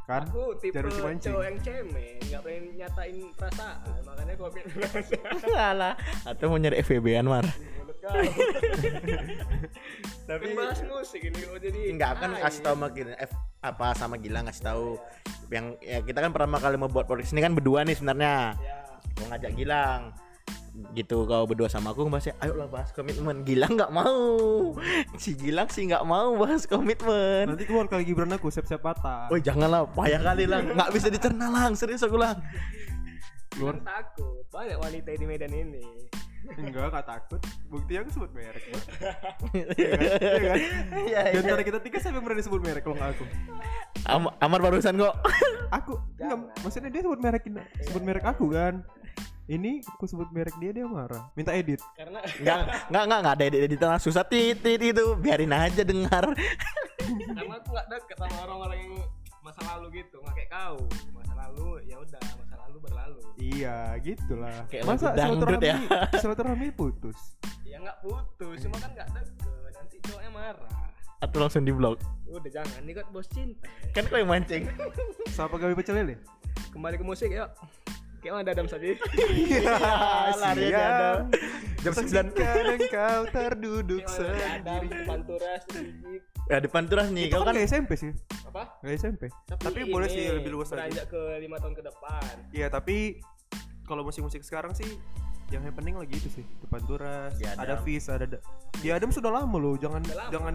Kan?
Aku tipe
Jangan dimancing.
cowok yang cemen, nggak pengen nyatain perasaan, makanya aku pengen
Alah, atau mau nyari FVB an Mar
mulut kau. Tapi bahas musik ini kok jadi
nggak akan
Ay.
kasih tahu sama Gil F- apa sama Gilang ngasih tahu yang ya kita kan pertama kali mau buat podcast ini kan berdua nih sebenarnya
Ya,
mau ngajak Gilang gitu kau berdua sama aku bahasnya ayo lah bahas komitmen Gilang nggak mau si Gilang sih nggak mau bahas komitmen
Nanti keluar kali Gibran aku siap-siap patah.
Woi janganlah payah kali lang nggak bisa dicerna lang serius aku lang
Keluar.
kan takut. Banyak wanita di Medan ini.
Enggak, gak takut. Bukti aku sebut merek. Mar. Iya kan? Iya
Iya,
kan? Di
iya.
antara kita tiga siapa yang berani sebut merek kalau nggak aku?
Am- Amar barusan kok
Aku enggak, maksudnya dia sebut merek sebut merek aku kan. Ini aku sebut merek dia dia marah. Minta edit.
Karena
nggak nggak nggak nggak ada di, di tengah susah titit itu biarin aja dengar
karena aku nggak deket sama orang-orang yang masa lalu gitu, nggak kayak kau. Masa lalu ya udah, masa lalu berlalu.
Iya, gitulah.
Kayak lagu
Masa
dangdut
silaturahmi
ya.
silaturahmi putus.
Ya nggak putus, cuma kan nggak deket. Nanti cowoknya marah.
atau langsung di blog
Udah jangan, nih kan bos cinta.
kan kau yang mancing
Sama pegawai pecel lele?
Kembali ke musik yuk. Kayak mana dadam saja.
larinya dia ada. Jam sembilan.
Saksikan engkau terduduk
Dadam,
sendiri
panturas, sedikit.
ya depan turas nih kau
Itu
kan
kan gak SMP sih
Apa?
Gak SMP Tapi boleh sih lebih luas lagi.
Beranjak ke lima tahun ke depan.
Iya tapi kalau musik-musik sekarang sih yang happening lagi itu sih depan turas
Di Iya, Adam.
ada Fizz ada Da- di Adam sudah lama loh jangan
Udah lama.
jangan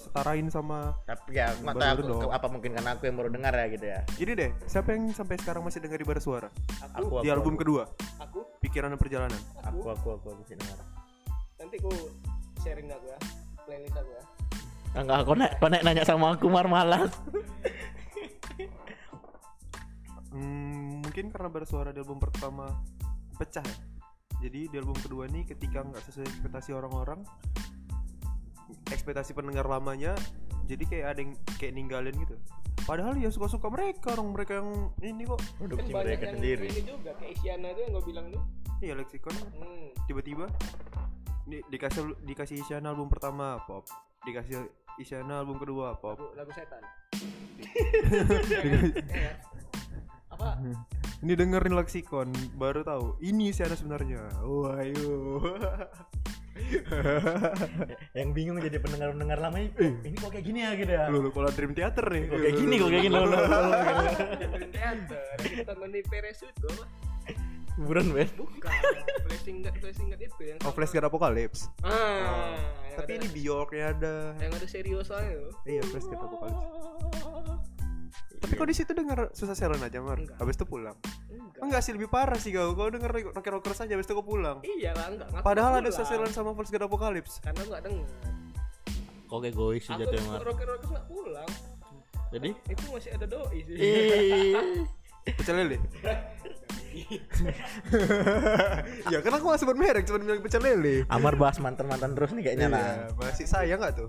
setarain sama
tapi ya nggak tahu
Baru
aku-
dong.
ke- apa mungkin karena aku yang baru dengar ya gitu ya
ini deh siapa yang sampai sekarang masih dengar ibarat suara
Aku,
aku
di album kedua
aku,
pikiran dan perjalanan
aku aku aku aku sih dengar
nanti ku sharing aku ya. Playlist aku ya.
enggak kau naik kau naik nanya sama aku mar malas
Hmm, mungkin karena bersuara di album pertama pecah ya. Jadi di album kedua ini ketika nggak sesuai ekspektasi orang-orang, ekspektasi pendengar lamanya, jadi kayak ada yang kayak ninggalin gitu. Padahal ya suka-suka mereka orang mereka yang ini kok.
produksi
Kan banyak
mereka
yang
sendiri
Ini juga kayak Isyana tuh yang gue bilang tuh.
Iya leksikon
Hmm.
tiba-tiba di- dikasih dikasih Isyana album pertama pop, dikasih Isyana album kedua pop.
Lagu, lagu setan.
Dikasih-
Eh, apa?
ini dengerin leksikon baru tahu ini Isyana sebenarnya. Wah, ayo.
yang bingung jadi pendengar-pendengar lama ini, "Oh, ini kok kayak gini ya gitu ya.
Lu lu kalau Dream Theater nih.
Kok kayak gini, kok kayak gini. Lo, lo, lo, lo.
Dream Theater kita Tony Perez itu
Buruan, Ben.
bukan flashing guard flashing guard itu yang
Oh, Flash God Apocalypse.
ya
ah yang
Tapi
ada-
ini Bjorknya ada.
yang ada serius aja tuh
Iya, Flash God Apocalypse.
Oh.
Tapi kok di situ denger susah Sharon aja, Mar.
Enggak.
Habis itu pulang.
enggak
Enggak sih lebih parah sih kau. Kau denger Rocker Rocker saja habis itu kau pulang.
iya lah enggak ngaku
Padahal ada
pulang.
sasaran sama Flash God Apocalypse.
karena enggak dengar
Kok kayak gois sih
aku
jatuh emang.
rocker rocker nggak pulang
Jadi,
itu masih ada doi sih
Iya.
Pecel lele. ya kan aku nggak sebut merek, cuma bilang pecel lele.
Amar bahas mantan-mantan terus nih kayaknya lah.
Iya, masih sayang nggak tuh?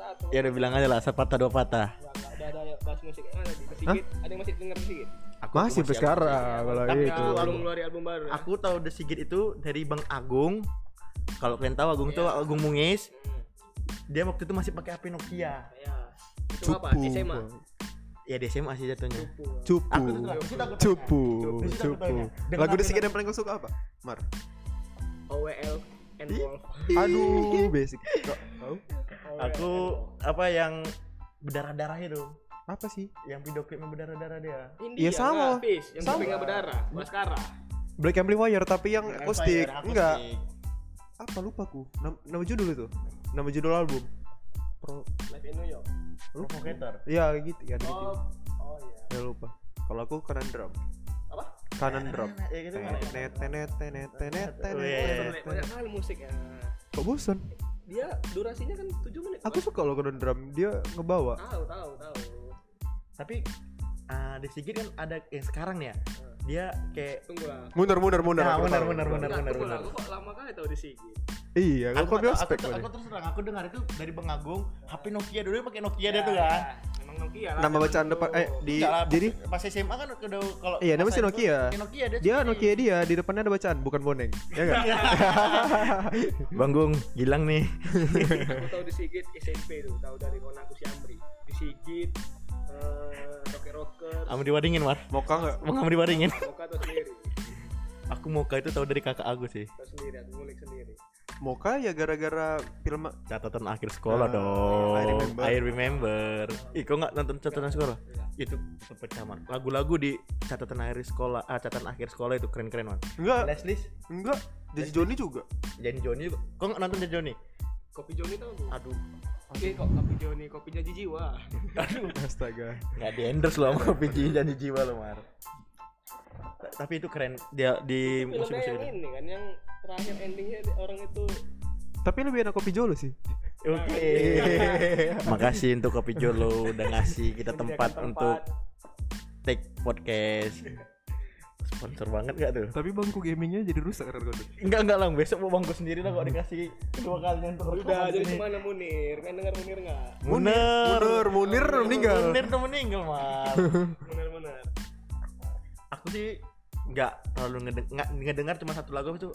satu
Iya,
Ya udah bilang aja lah, sepatah dua patah.
enggak enggak ada ada yang bahas musik yang mana di sedikit ada yang masih denger sedikit
masih sampai sekarang Ah, kalau
Tapi
itu.
aku-
belum ngeluarin album baru ya?
Aku tahu The Sigit itu dari Bang Agung. Kalau kalian tahu Agung tuh Agung Mungis.
Hmm,
Dia waktu itu masih pakai HP Nokia.
ya itu apa
Cupu.
SMA
Ya di SMA sih jatuhnya.
Cupu.
Cupu.
Aku tuh tahu, aku tahu.
Cupu.
Cupu.
Cupu.
Dengar
Lagu di
aku
Sigit yang paling kau suka apa? Mar.
OWL and Wolf
Aduh, basic. Kok tahu?
Aku apa yang berdarah-darah itu,
Apa sih?
yang video klipnya berdarah-darah dia.
India,
Iya, sama.
nggak habis. yang
Sama.
sama nggak berdarah Baskara
Black Amplifier tapi yang akustik.
Fire,
Enggak.
akustik.
Apa lupa aku? Nam- Nama judul itu. Nama judul album. Pro
Live in New York
Provocator.
Iya gitu ya gitu.
oh oh iya
Ya lupa. Kalau aku kanan drum.
Apa?
Kanan drum.
Ya gitu kan.
Tenet tenet tenet tenet
Iya, iya,
Bosen,
tenet.
Le. Oh, banyak kali musiknya
Kok bosan?
dia durasinya kan 7 menit
Aku suka loh kanan drum. Dia ngebawa.
tahu tahu tahu
Tapi ah, di Sigit kan ada yang sekarang nih ya. Dia kayak
tunggu lah
Mundur mundur mundur.
Nah,
aku
mundur,
tahu.
mundur, mundur.
Nggak, tunggu lah,
benar.
aku kok lama kali tau di Sigit
aku,
Iya, aku
nggak tahu,
biospek
aku, aku, terus terang aku dengar itu dari Bang Agung HP Nokia dulu dia pakai Nokia
Iya,
dia tuh kan
Iya, Memang Nokia lah
Nama bacaan depan eh Ya. di
Enggak lah,
jadi
pas- pas SMA kan udah kalau
Iya, namanya
masa
si
itu,
Nokia.
pakai Nokia dia,
dia Nokia dia di depannya ada bacaan bukan boneng. Ya enggak?
Iya. Bang Gung hilang nih
Aku tau di Sigit SMP tuh Tau dari kawan aku si Amri Di Sigit eh, Rocker Rocker
Kamu diwaringin Mar
Moka enggak?
Mau kamu diwaringin
Moka tau sendiri
Aku Moka itu tahu dari kakak aku sih
Tau sendiri Aku ngulik sendiri
Moka ya gara-gara film
catatan akhir sekolah
Ah,
dong
I remember.
I remember Ih kok nggak nonton catatan sekolah itu pecah Mar lagu-lagu di catatan akhir sekolah ah, catatan akhir sekolah itu keren-keren Mar
enggak
Leslie
enggak jadi Joni juga.
Jan Joni juga kok nggak nonton Jan Joni
Kopi Joni tau gue
aduh
Oke kok Kopi Joni Kopi Jaji Jiwa
Astaga.
nggak di endorse loh sama PJ janji jiwa lo Mar Ta- tapi itu keren dia di musik musik
Filmnya yang
itu
ini kan Yang terakhir endingnya di- orang itu
Tapi lebih enak kopi Jolo sih.
oke makasih untuk kopi Jolo udah ngasih kita tempat
menyediakan
untuk take podcast sponsor banget gak tuh
Tapi bangku gamingnya jadi rusak kan karena kau
enggak enggak lang besok mau bangku sendiri lah kok dikasih kedua kalinya untuk
Udah jadi kemana Munir Kan denger Munir gak?
Munir
Munir, Munir meninggal.
Munir tuh meninggal Mar
Munir-munir
aku sih nggak terlalu ngedeng nggak ngedengar cuma satu lagu itu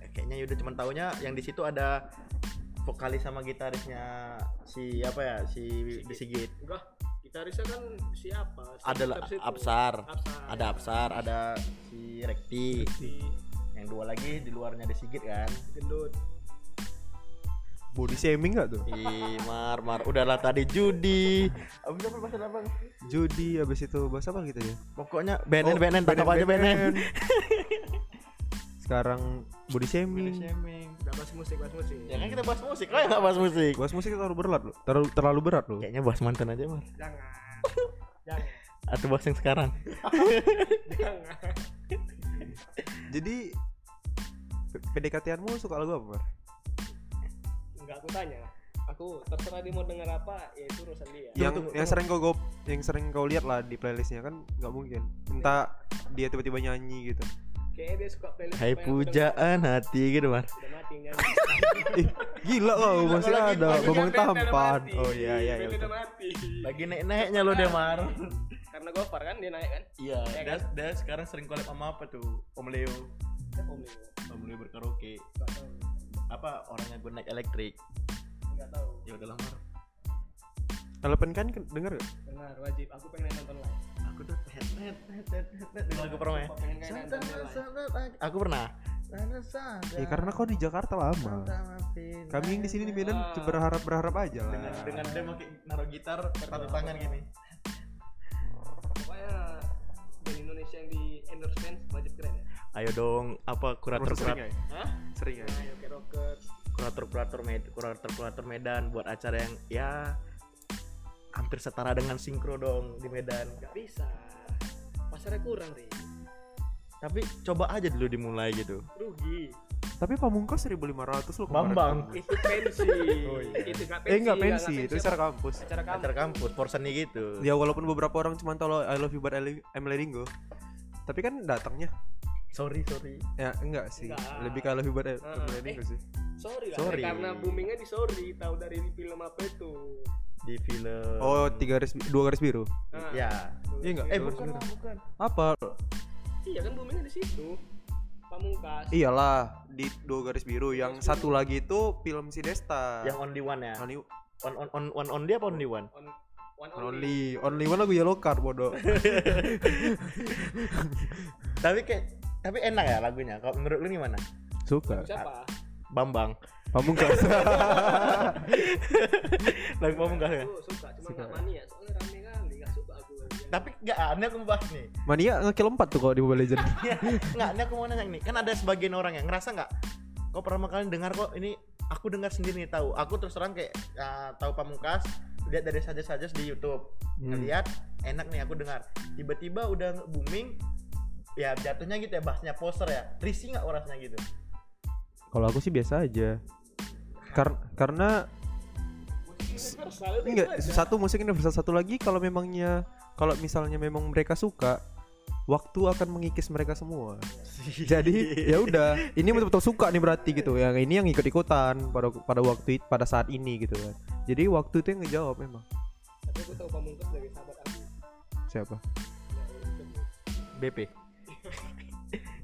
eh, kayaknya udah cuman taunya yang di situ ada vokalis sama gitarisnya si apa ya si The Sigit
Enggak Gitarisnya kan siapa? Si
ada lah,
Abs itu.
Absar
Absar
ada Absar ada si Rekti
Si
yang dua lagi di luarnya The Sigit kan
Gendut
Body shaming enggak tuh?
Ih, Mar, Mar. Udahlah tadi judi. Abis apa bahasa apa? Bang?
Judi habis itu bahas apa kita ya?
Pokoknya benen,
Oh,
benen, tangkap aja benen.
Sekarang body shaming.
Udah bahas musik Bahas musik
Ya kan kita bahas musik, lah nggak bahas musik.
Bahas musik terlalu berat loh. Terlalu terlalu berat loh.
Kayaknya bahas mantan aja, Mar.
Jangan Jangan
Atau bahas yang sekarang.
Jangan
Jadi P- PDKT-anmu suka lagu apa, Mar?
Enggak aku tanya Aku terserah dia mau denger apa Ya itu urusan dia
yang
tunggu,
yang sering kau gop, yang sering kau lihat lah di playlistnya kan nggak mungkin. Entah dia tiba-tiba nyanyi gitu.
Kayaknya dia suka playlist
Hai
apa yang aku denger.
pujaan hati gitu, Mar.
Udah mati kan? nyanyi
Ih, gila kau masih
lagi-
ada
lagi
ngomong
Band udah
tampan.
mati.
Oh iya iya iya.
Band
betul.
udah mati
Lagi naik-naiknya lo deh, Mar.
Karena gofar kan dia naik kan
Iya, dan dan sekarang sering collab sama apa tuh? Om Leo.
Om Leo
Om Leo berkaraoke. Apa orangnya gue naik elektrik?
Enggak tahu
Iya.
Ya udah Mar.
Telepon kan ken- denger gak?
Dengar wajib Aku pengen nonton live
Aku tuh head head head head head lagu pernah ya?
Aku pengen kayak nonton live
Aku pernah. Sana sana.
Ya karena kau di Jakarta lama. Kami yang di sini di Medan
Ah.
berharap berharap aja lah.
dengan dengan dia pakai naruh gitar satu tangan gini.
pokoknya band Indonesia yang di endorse fans wajib keren ya
Ayo dong, apa kurator
Terus sering
kurator
ya?
Hah?
Sering ya?
Ayo ke rocker.
kurator kurator Medan, kurator kurator Medan buat acara yang ya hampir setara dengan sinkro dong di Medan.
gak bisa pasarnya kurang deh
Tapi coba aja dulu dimulai gitu.
Rugi.
Tapi Pamungkas 1500 loh kemarin.
Bambang.
Itu pensi.
Oh, iya.
Itu nggak pensi.
Eh enggak pensi,
nggak
itu acara kampus.
acara kamu
Acara kampus, porsen gitu.
Ya walaupun beberapa orang cuma tahu lo- I love you but I li- I'm letting go. Tapi kan datangnya
Sorry, sorry.
ya enggak sih.
Enggak.
Lebih ke I love you but I- I'm
Ah, eh.
letting go sih.
sorry lah
Sorry.
Karena boomingnya di sorry. Tahu dari film apa itu?
Di film.
Oh, tiga garis dua garis biru.
Nah,
Ya.
tuh.
Iya enggak?
Eh
Dua garis
bukan
biru.
lah, bukan.
Apa?
Iya kan boomingnya di situ.
pamungkas
Iya. Iyalah di dua garis biru. Yang satu lagi itu film si Desta.
Yang only one ya.
only
On on on one only apa only one?
on one only
only only one lagu yellow card bodoh.
tapi kayak tapi enak ya lagunya. Kalau menurut lu gimana?
Suka.
siapa
Bambang.
Pamungkas.
Lagu Pamungkas ya.
aku suka cuma nggak mania soalnya rame kali nggak suka aku
Tapi enggak, ini aku mau bahas nih.
Mania ngekill 4 tuh kalau di Mobile Legends.
Enggak, ini aku mau nanya nih. Kan ada sebagian orang yang ngerasa enggak kok pertama kali dengar kok ini aku dengar sendiri nih tahu. Aku terus terang kayak ah, tahu Pamungkas lihat dari saja-saja di YouTube.
Hmm.
Lihat enak nih aku dengar. Tiba-tiba udah booming ya jatuhnya gitu ya bahasnya poster ya risih nggak orangnya gitu
Kalau aku sih biasa aja. Kar- karena
Universal itu
enggak satu musik universal satu lagi kalau memangnya kalau misalnya memang mereka suka waktu akan mengikis mereka semua. Jadi ya udah, ini betul-betul suka nih berarti gitu. Yang ini yang ikut-ikutan pada pada waktu it- pada saat ini gitu kan. Jadi waktu itu yang ngejawab memang.
tapi aku tahu pamungkas dari sahabat aku
Siapa?
BP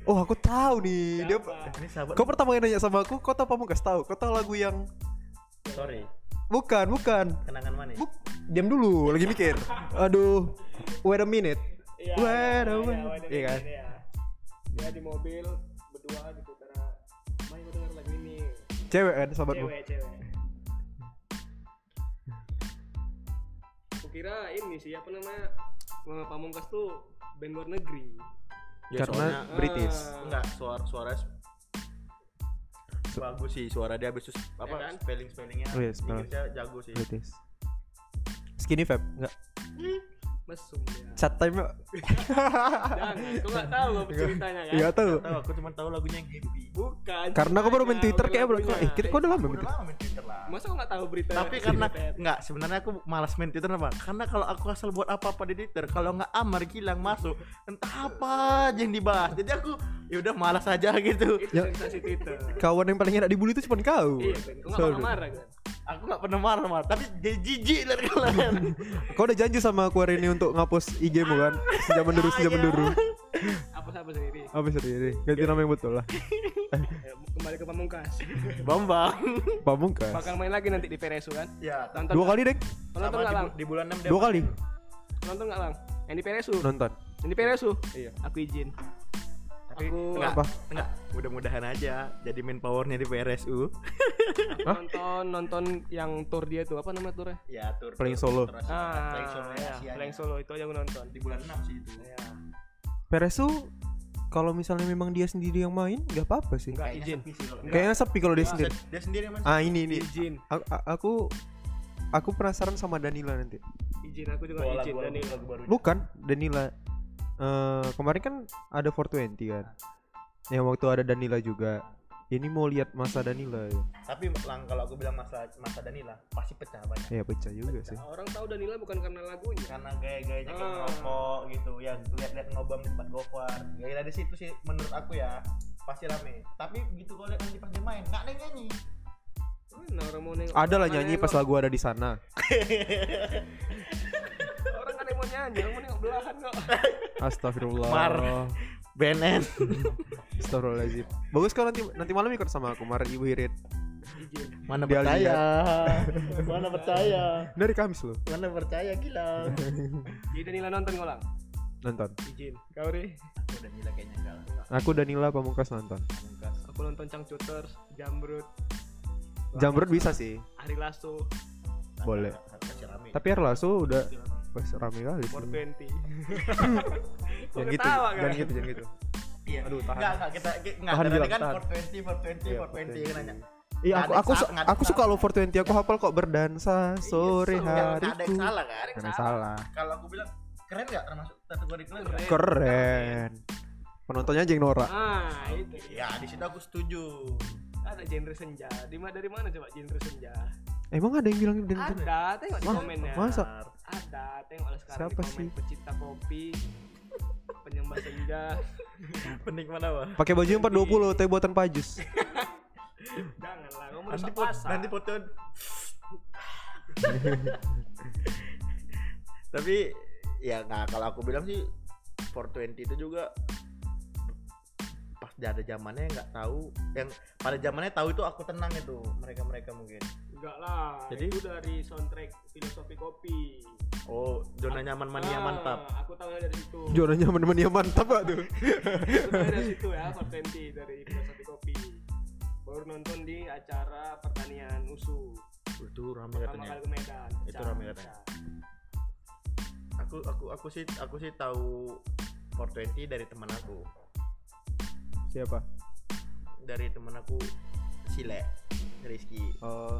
Oh, aku tahu nih. Dia
ini sahabat
Kau pertama kali nanya sama aku, kau tahu Pamungkas tahu? Kau tahu lagu yang
sorry
bukan, bukan.
kenangan mana
Buk, diam dulu, lagi mikir. Aduh, wait a minute.
Iya,
wait a
iya,
minute. Iya kan?
Iya. Dia di mobil berdua gitu karena main gue denger lagu ini.
Cewek kan sahabatmu.
Cewek, cewek.
aku kira ini sih apa namanya eh, pamungkas tuh band luar negeri Ah,
Ya,
Karena
soalnya-
British.
enggak suara suara bagus sih suara dia habis itu apa
Ya kan?
spelling spellingnya
Oh, iya, spelling.
Inggrisnya jago sih
British. Skinny vape, enggak.
mesum ya
Chat time
jangan aku nggak tahu apa ceritanya kan
enggak tahu.
tahu aku cuma tahu lagunya yang happy
bukan
Iya. Karena aku baru main
ceritanya,
Twitter kayak baru
lagunya.
eh kira kau udah lama
Aku
main
udah
Twitter.
lama main Twitter lah
masa kau nggak tahu berita
tapi karena enggak sebenarnya aku malas main Twitter apa karena kalau aku asal buat apa-apa di Twitter kalau enggak Amar Gilang masuk entah apa aja yang dibahas jadi aku ya udah malas aja gitu
Ya.
itu sensasi Twitter
Kawan yang paling enak dibully itu cuma kau.
iya kan kau nggak
Selalu.
marah marah kan
aku nggak pernah marah-marah tapi jadi jijik liat kalian
Kau udah janji sama aku hari ini untuk ngapus IG-mu kan?
Ah.
Sejaman dulu,
Iya.
sejaman dulu.
apa apa sendiri
Apa sendiri?
Iya.
Ganti nama yang betul lah.
Ya, kembali ke pamungkas
Bambang
Pamungkas.
bakal main lagi nanti di Peresu kan
ya
nonton
Dua kali, Dek.
nonton
sama
nggak
di,
lang
bu- di bulan 6
Dua kali.
nonton nggak lang yang di Peresu
Nonton.
yang di Peresu
Iya.
aku izin
Tapi
Aku-
enggak,
Apa?
enggak. Mudah-mudahan aja jadi main powernya di PRSU.
Hah?
nonton nonton yang tour dia tuh apa nama tournya
ya, tur.
Playing solo.
ah
Playing solo
ya, Flying solo itu aja aku nonton
di bulan 6 sih itu.
ya
Perez tuh kalau misalnya memang dia sendiri yang main, nggak apa-apa sih.
nggak izin
sepi sih kalau-
Kayaknya sepi kalau dia
Dia,
sendiri.
dia sendiri yang main.
Ah ini ini.
izin
Aku a- aku, aku penasaran sama Danila nanti.
izin aku juga
Bola,
izin
bola,
Daniel
lagu baru.
Bukan Danila. Eh kemarin kan ada 420 kan. Yang waktu ada Danila juga. Ini mau lihat masa Danila ya.
Tapi lang kalau aku bilang masa masa Danila pasti pecah banyak. Nah,
Ya pecah juga sih.
orang tahu Danila bukan karena lagunya
Karena gaya-gayanya kayak
Ah.
ngerokok gitu ya, lihat-lihat ngobam di tempat gofar. Gaya dari situ sih menurut aku ya pasti rame. Tapi gitu kalau lihat nanti pas dia main, enggak ada yang nyanyi.
mana orang mau nengok
Ada lah
Mana
nyanyi
nengok?
pas lagu ada di sana.
orang kan yang mau nyanyi orang mau nengok belahan kok
Astagfirullah.
Mar. BNN.
Astagfirullahaladzim. Bagus kalau nanti nanti malam ikut sama aku Mar Ibu Irit.
Mana
Dia
percaya? Mana percaya?
Dari Kamis loh.
Mana percaya gila.
jadi Danila nonton kau lang
Nonton.
izin kau re
dan gila kayaknya enggak lah
Aku Danila Pamungkas nonton.
Pamungkas.
aku nonton Cangcuters Jamrut
Jamrut bisa sih.
Ari Lasso
Boleh.
Harta Cirami.
Tapi Erlaso udah
Cirami.
wes rame kali sih.
More 20
Jangan
Kok
gitu,
ketawa,
jangan
kan?
gitu, jangan gitu.
Iya.
Aduh, tahan.
Enggak, enggak kita ki- enggak
Tahan,
ada
Gilang,
kan
tahan.
420 420
Iya,
420 kan nanya.
Iya, aku aku su-
Nggak ada
aku suka
salah.
lo 420, aku hafal kok berdansa sore
so,
Enggak
hari.
enggak ada yang salah kan?
Karena salah.
Kalau aku bilang keren enggak termasuk kategori keren? nggak?
Keren. Penontonnya jeng Nora.
ah itu
Ya, di situ aku setuju.
ada genre senja Di ma- dari mana coba genre senja
Emang ada yang bilang dan
ada tengok di
Wah,
ya.
komennya
masa?
ada tengoklah sekarang
Siapa
di komen
sih?
pecinta kopi penyembah senja
Penikmat apa?
pakai baju yang 420 tapi buatan pajus.
janganlah kamu
Nanti
rusak
pot,
pasar
nanti foto. Tapi ya nah kalau aku bilang sih 420 itu juga pas ada zamannya nggak tahu yang pada zamannya tahu itu aku tenang itu mereka mereka mungkin
enggak lah
Jadi?
itu dari soundtrack filosofi kopi
oh zona nyaman mania
Ah,
mantap
aku tahu dari situ
Juara nyaman yang mantap gak tuh.
Aku tahu dari situ ya 420 dari filosofi kopi baru nonton di acara pertanian USU
itu rame katanya
pertama kali ke Medan
Itu
Pecah,
rame katanya.
pecah.
aku aku aku sih aku sih tahu 420 dari teman aku
Siapa?
dari teman aku Sile Rizky
Oh,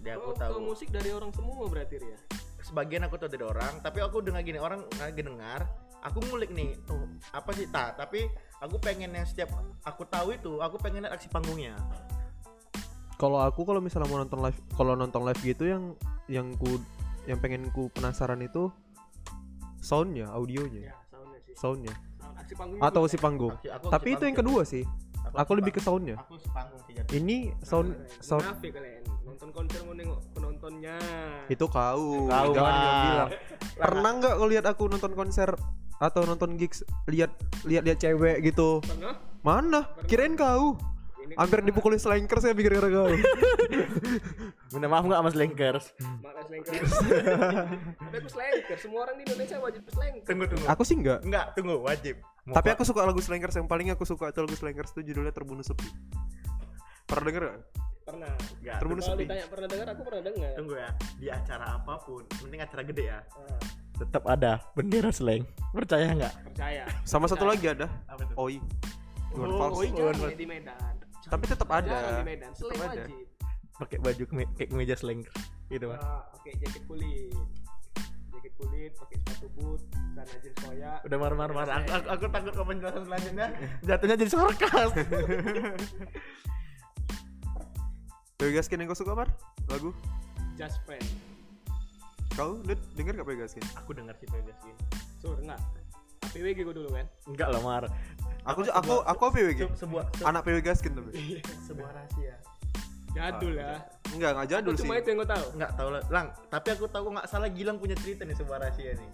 dia aku
Oh,
tahu Iya.
tahu musik dari orang semua berarti ya
sebagian aku tahu dari orang tapi aku dengar gini orang lagi dengar aku ngulik nih oh, apa sih tak tapi aku pengen yang setiap aku tahu itu aku pengen lihat aksi panggungnya
kalau aku kalau misalnya mau nonton live, kalau nonton live gitu yang yang ku yang pengen ku penasaran itu soundnya,
ya
audionya,
soundnya sih
soundnya
sound aksi panggung
atau si panggung.
Aksi- aku aksi
Tapi itu yang
panggung.
kedua sih. Aku lebih ke soundnya.
aku sepanggung sih jadi
Ini sound sound
Munafik kalian ya. nonton konser mau nengok penontonnya
itu kau,
Kau,
jangan
Mas.
bilang. Pernah nggak kau lihat aku nonton konser atau nonton gigs lihat lihat lihat cewek gitu?
pernah
Mana? Kirain kau.
Ini
Hampir dipukuli slanker saya pikir gara kau.
minta maaf nggak mas Lengkers
Makan selengker. Tapi aku selengker. Semua orang di Indonesia wajib selengker.
tunggu tunggu
aku sih enggak.
enggak tunggu wajib Mau
Tapi
pa-
aku suka lagu Slankers yang paling aku suka itu lagu Slankers itu judulnya Terbunuh Sepi. Pernah denger gak?
Pernah.
Nggak,
Terbunuh
Kalau
Sepi.
ditanya pernah dengar, aku pernah dengar.
tunggu ya di acara apapun penting acara gede ya
Ah,
tetap ada bendera seleng percaya nggak Oh,
percaya.
Sama satu lagi ada
apa tuh
Oi. Iwan
Nah. Oh,
Fals.
Oh,
Oi.
jangan ya di Medan.
Tapi tetap
Jangan
ada.
di Medan. Seleng
Tetap ada.
wajib.
pakai baju keme- kayak kemeja seleng gitu mas
Ah, Oke, jaket kulit. Jaket kulit, pakai sepatu boot, celana jeans koyak.
udah marah-marah marah. aku, aku, aku takut kalau penjelasan selanjutnya jatuhnya jadi sarkas
Pegaskin yang kau suka Mar? Lagu?
Just friend.
Kau Dut, denger gak Pegaskin?
aku dengar sih pegasin
Sur, nah. enggak. APWG gue dulu kan.
enggak lah mar
Aku aku aku PWG.
Se- sebuah se-
Anak PWG tapi.
sebuah rahasia
Iya. Jadul ya.
Enggak, enggak jadul
Aku
sih.
Cuma itu yang gue tahu.
nggak tahu lah lang tapi aku tahu nggak salah Gilang punya cerita nih sebuah rahasia nih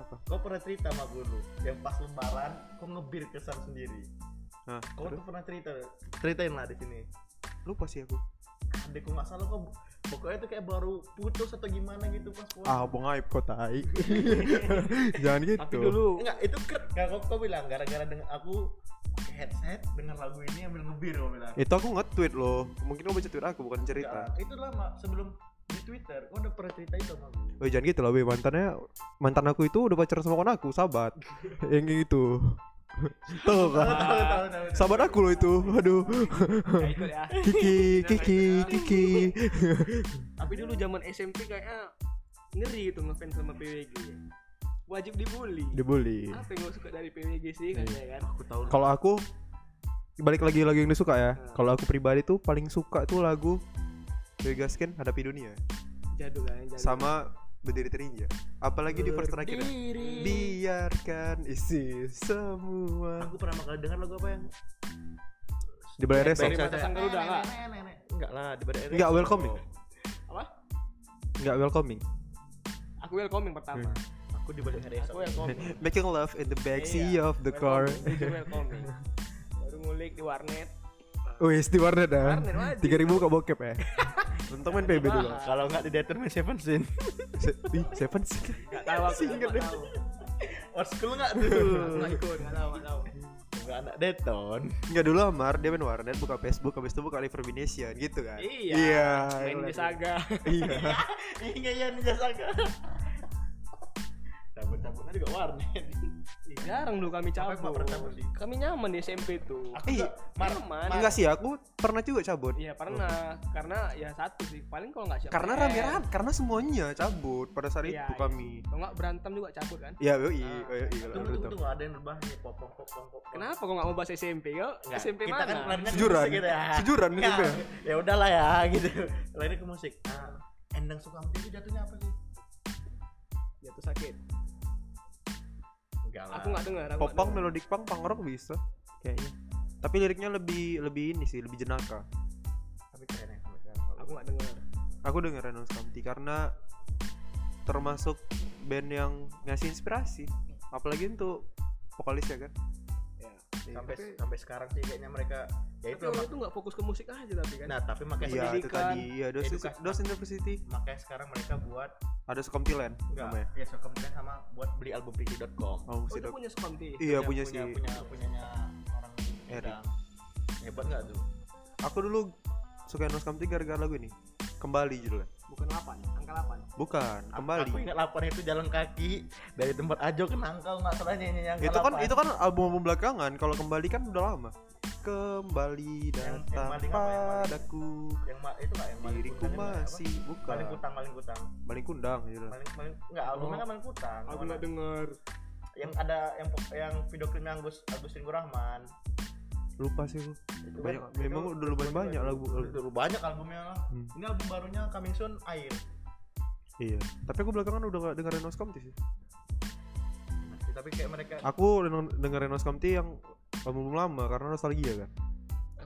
Apa?
kau pernah cerita sama aku dulu yang pas lebaran kau ngebir kesan sendiri
Hah,
kau
aduh,
tuh pernah cerita ceritain lah di sini
lupa sih aku.
ada kau nggak salah kau pokoknya tuh kayak baru putus atau gimana gitu pas puasa
Ah, bong aib kau tai. Jangan
Tapi
gitu.
dulu
enggak itu kert nggak kau, kau bilang gara-gara dengan aku pakai headset dengar lagu ini ambil ngebir kau bilang
Itu aku nge-tweet loh. Mungkin kamu baca tweet aku bukan Iya, cerita.
Enggak, itu lama sebelum di Twitter gua udah pernah cerita itu sama gua.
Oh jangan gitu lah, be. mantannya mantan aku itu udah pacaran sama kon aku, sahabat. yang kayak gitu.
Tahu,
Tuh kan.
tahu, tahu, tahu, tahu.
Sahabat aku loh itu. Aduh.
nggak ikut ya.
Kiki, Kiki, Kiki.
Tapi dulu zaman SMP kayaknya ngeri gitu ngefans sama PWG. Wajib dibully.
Dibully.
apa yang gue suka dari PWG sih katanya kan
aku tahu
Kalau aku balik lagi lagu yang disuka ya. Kalau aku pribadi tuh paling suka tuh lagu Vegaskin Hadapi Dunia
jadul kan jadul
sama Berdiri Terinja. Apalagi di first terakhir. ya. Biarkan isi semua.
aku pernah kali dengar lagu apa yang
Di balai resort.
dari mata sang garuda nggak?
enggak lah di badan
Enggak ya? welcoming.
apa
Enggak welcoming.
aku welcoming pertama
aku di badan hari
aku welcoming
Making love in the backseat
Iya,
of the car.
welcoming, jujur welcoming baru ngulik di warnet
Wis di warnet dah.
Warnet, wajib.
Tiga ribu kok bokep ya. Untung main PB dulu.
kalau enggak di Determine Seven Sin
Se- Ih, seven sih.
nggak tahu aku nggak tahu
Old Oh, school nggak tuh?
nggak ikut nggak tahu nggak tahu
Enggak anak Deton.
Enggak dulu Amar, dia main warnet, buka Facebook, habis itu buka Live Rumination gitu kan.
Iya,
Iya.
main
iya.
di saga
Iya.
Iya iya Ninja Saga. Cabut-cabutnya juga warnet.
Ih,
Iya.
jarang dulu
Apa yang
kami
nggak
cabut
pernah cabut sih?
kami nyaman di SMP tuh
Iya.
Aku nggak- Mar-
nyaman
Enggak sih, aku pernah juga cabut.
iya pernah karena ya satu sih paling kalau nggak siapa
Karena rame-rame, karena semuanya cabut pada saat
Iya,
itu
iya.
kami.
kalau nggak berantem juga cabut kan
Ya,
Ah.
yoi, yoi, kalau
Tunggu
aku
tunggu
tahu.
tunggu ada yang rebah nih pop pop pop pop. pop.
Kenapa kok nggak mau bahas SMP yo?
Nggak,
SMP
kita
mana?
kan larinya ke
Sejuran.
musik gitu ya.
Sejuran
Nggak,
gitu ya.
ya udahlah ya gitu lainnya ke musik Ah, endang sukamti itu jatuhnya apa sih
Jatuh Ya, sakit.
Nah, enggak lah
Aku nggak dengar. aku nggak
ya. Popang,
dengar.
melodic punk, punk rock bisa kayaknya. Tapi liriknya lebih lebih ini sih, lebih jenaka.
tapi keren ya tapi keren.
Aku nggak dengar.
Aku denger Renan Samti karena termasuk band yang ngasih inspirasi. Apalagi untuk vokalisnya kan.
Ya.
Iya.
sampai sampai sekarang sih kayaknya mereka ya itu
Tapi orang itu nggak fokus ke musik aja tapi kan.
nah tapi makanya
Iya, itu
pendidikan,
tadi. Iya, dos,
edukasi.
dos University.
makanya sekarang mereka buat
Ada Skomtiland namanya.
enggak ya sukamti sama buat beli album pc.com
Oh,
Oh,
musik
itu
dok.
punya Sukamti.
Iya, punya, sih. Iya,
punya punya punyanya orang
Eric.
Endang. hebat nggak tuh
Aku dulu suka Nos Kamti gara-gara lagu ini. Kembali judulnya.
Bukan 8, angka 8.
Bukan,
Aku-
kembali.
aku ingat laporan itu jalan kaki dari tempat ajo ke nangkal nggak salah nyanyi yang
itu kan itu kan album album belakangan kalau kembali kan udah lama kembali
Yang- yang
datang
maling apa, yang maling?
padaku
yang ma- itu nggak yang maling
diriku
kundang, yang apa?
masih bukan
maling kutang maling kutang
maling kundang gitu
maling maling nggak albumnya
Oh.
kan maling kutang
Aku
Yang
nggak dengar.
Eh, mana- yang ada yang po- yang video klipnya Agus Agus Ringo Rahman
lupa sih aku
Itu
banyak
kan-
memang
itu-
udah lumayan banyak lagu
Udah banyak albumnya lah
Hmm.
ini album barunya Coming Soon Air
iya tapi aku belakangan udah gak dengerin Nos Kamti sih
tapi kayak mereka
aku denger- dengerin Nos Kamti yang album lama karena nostalgia kan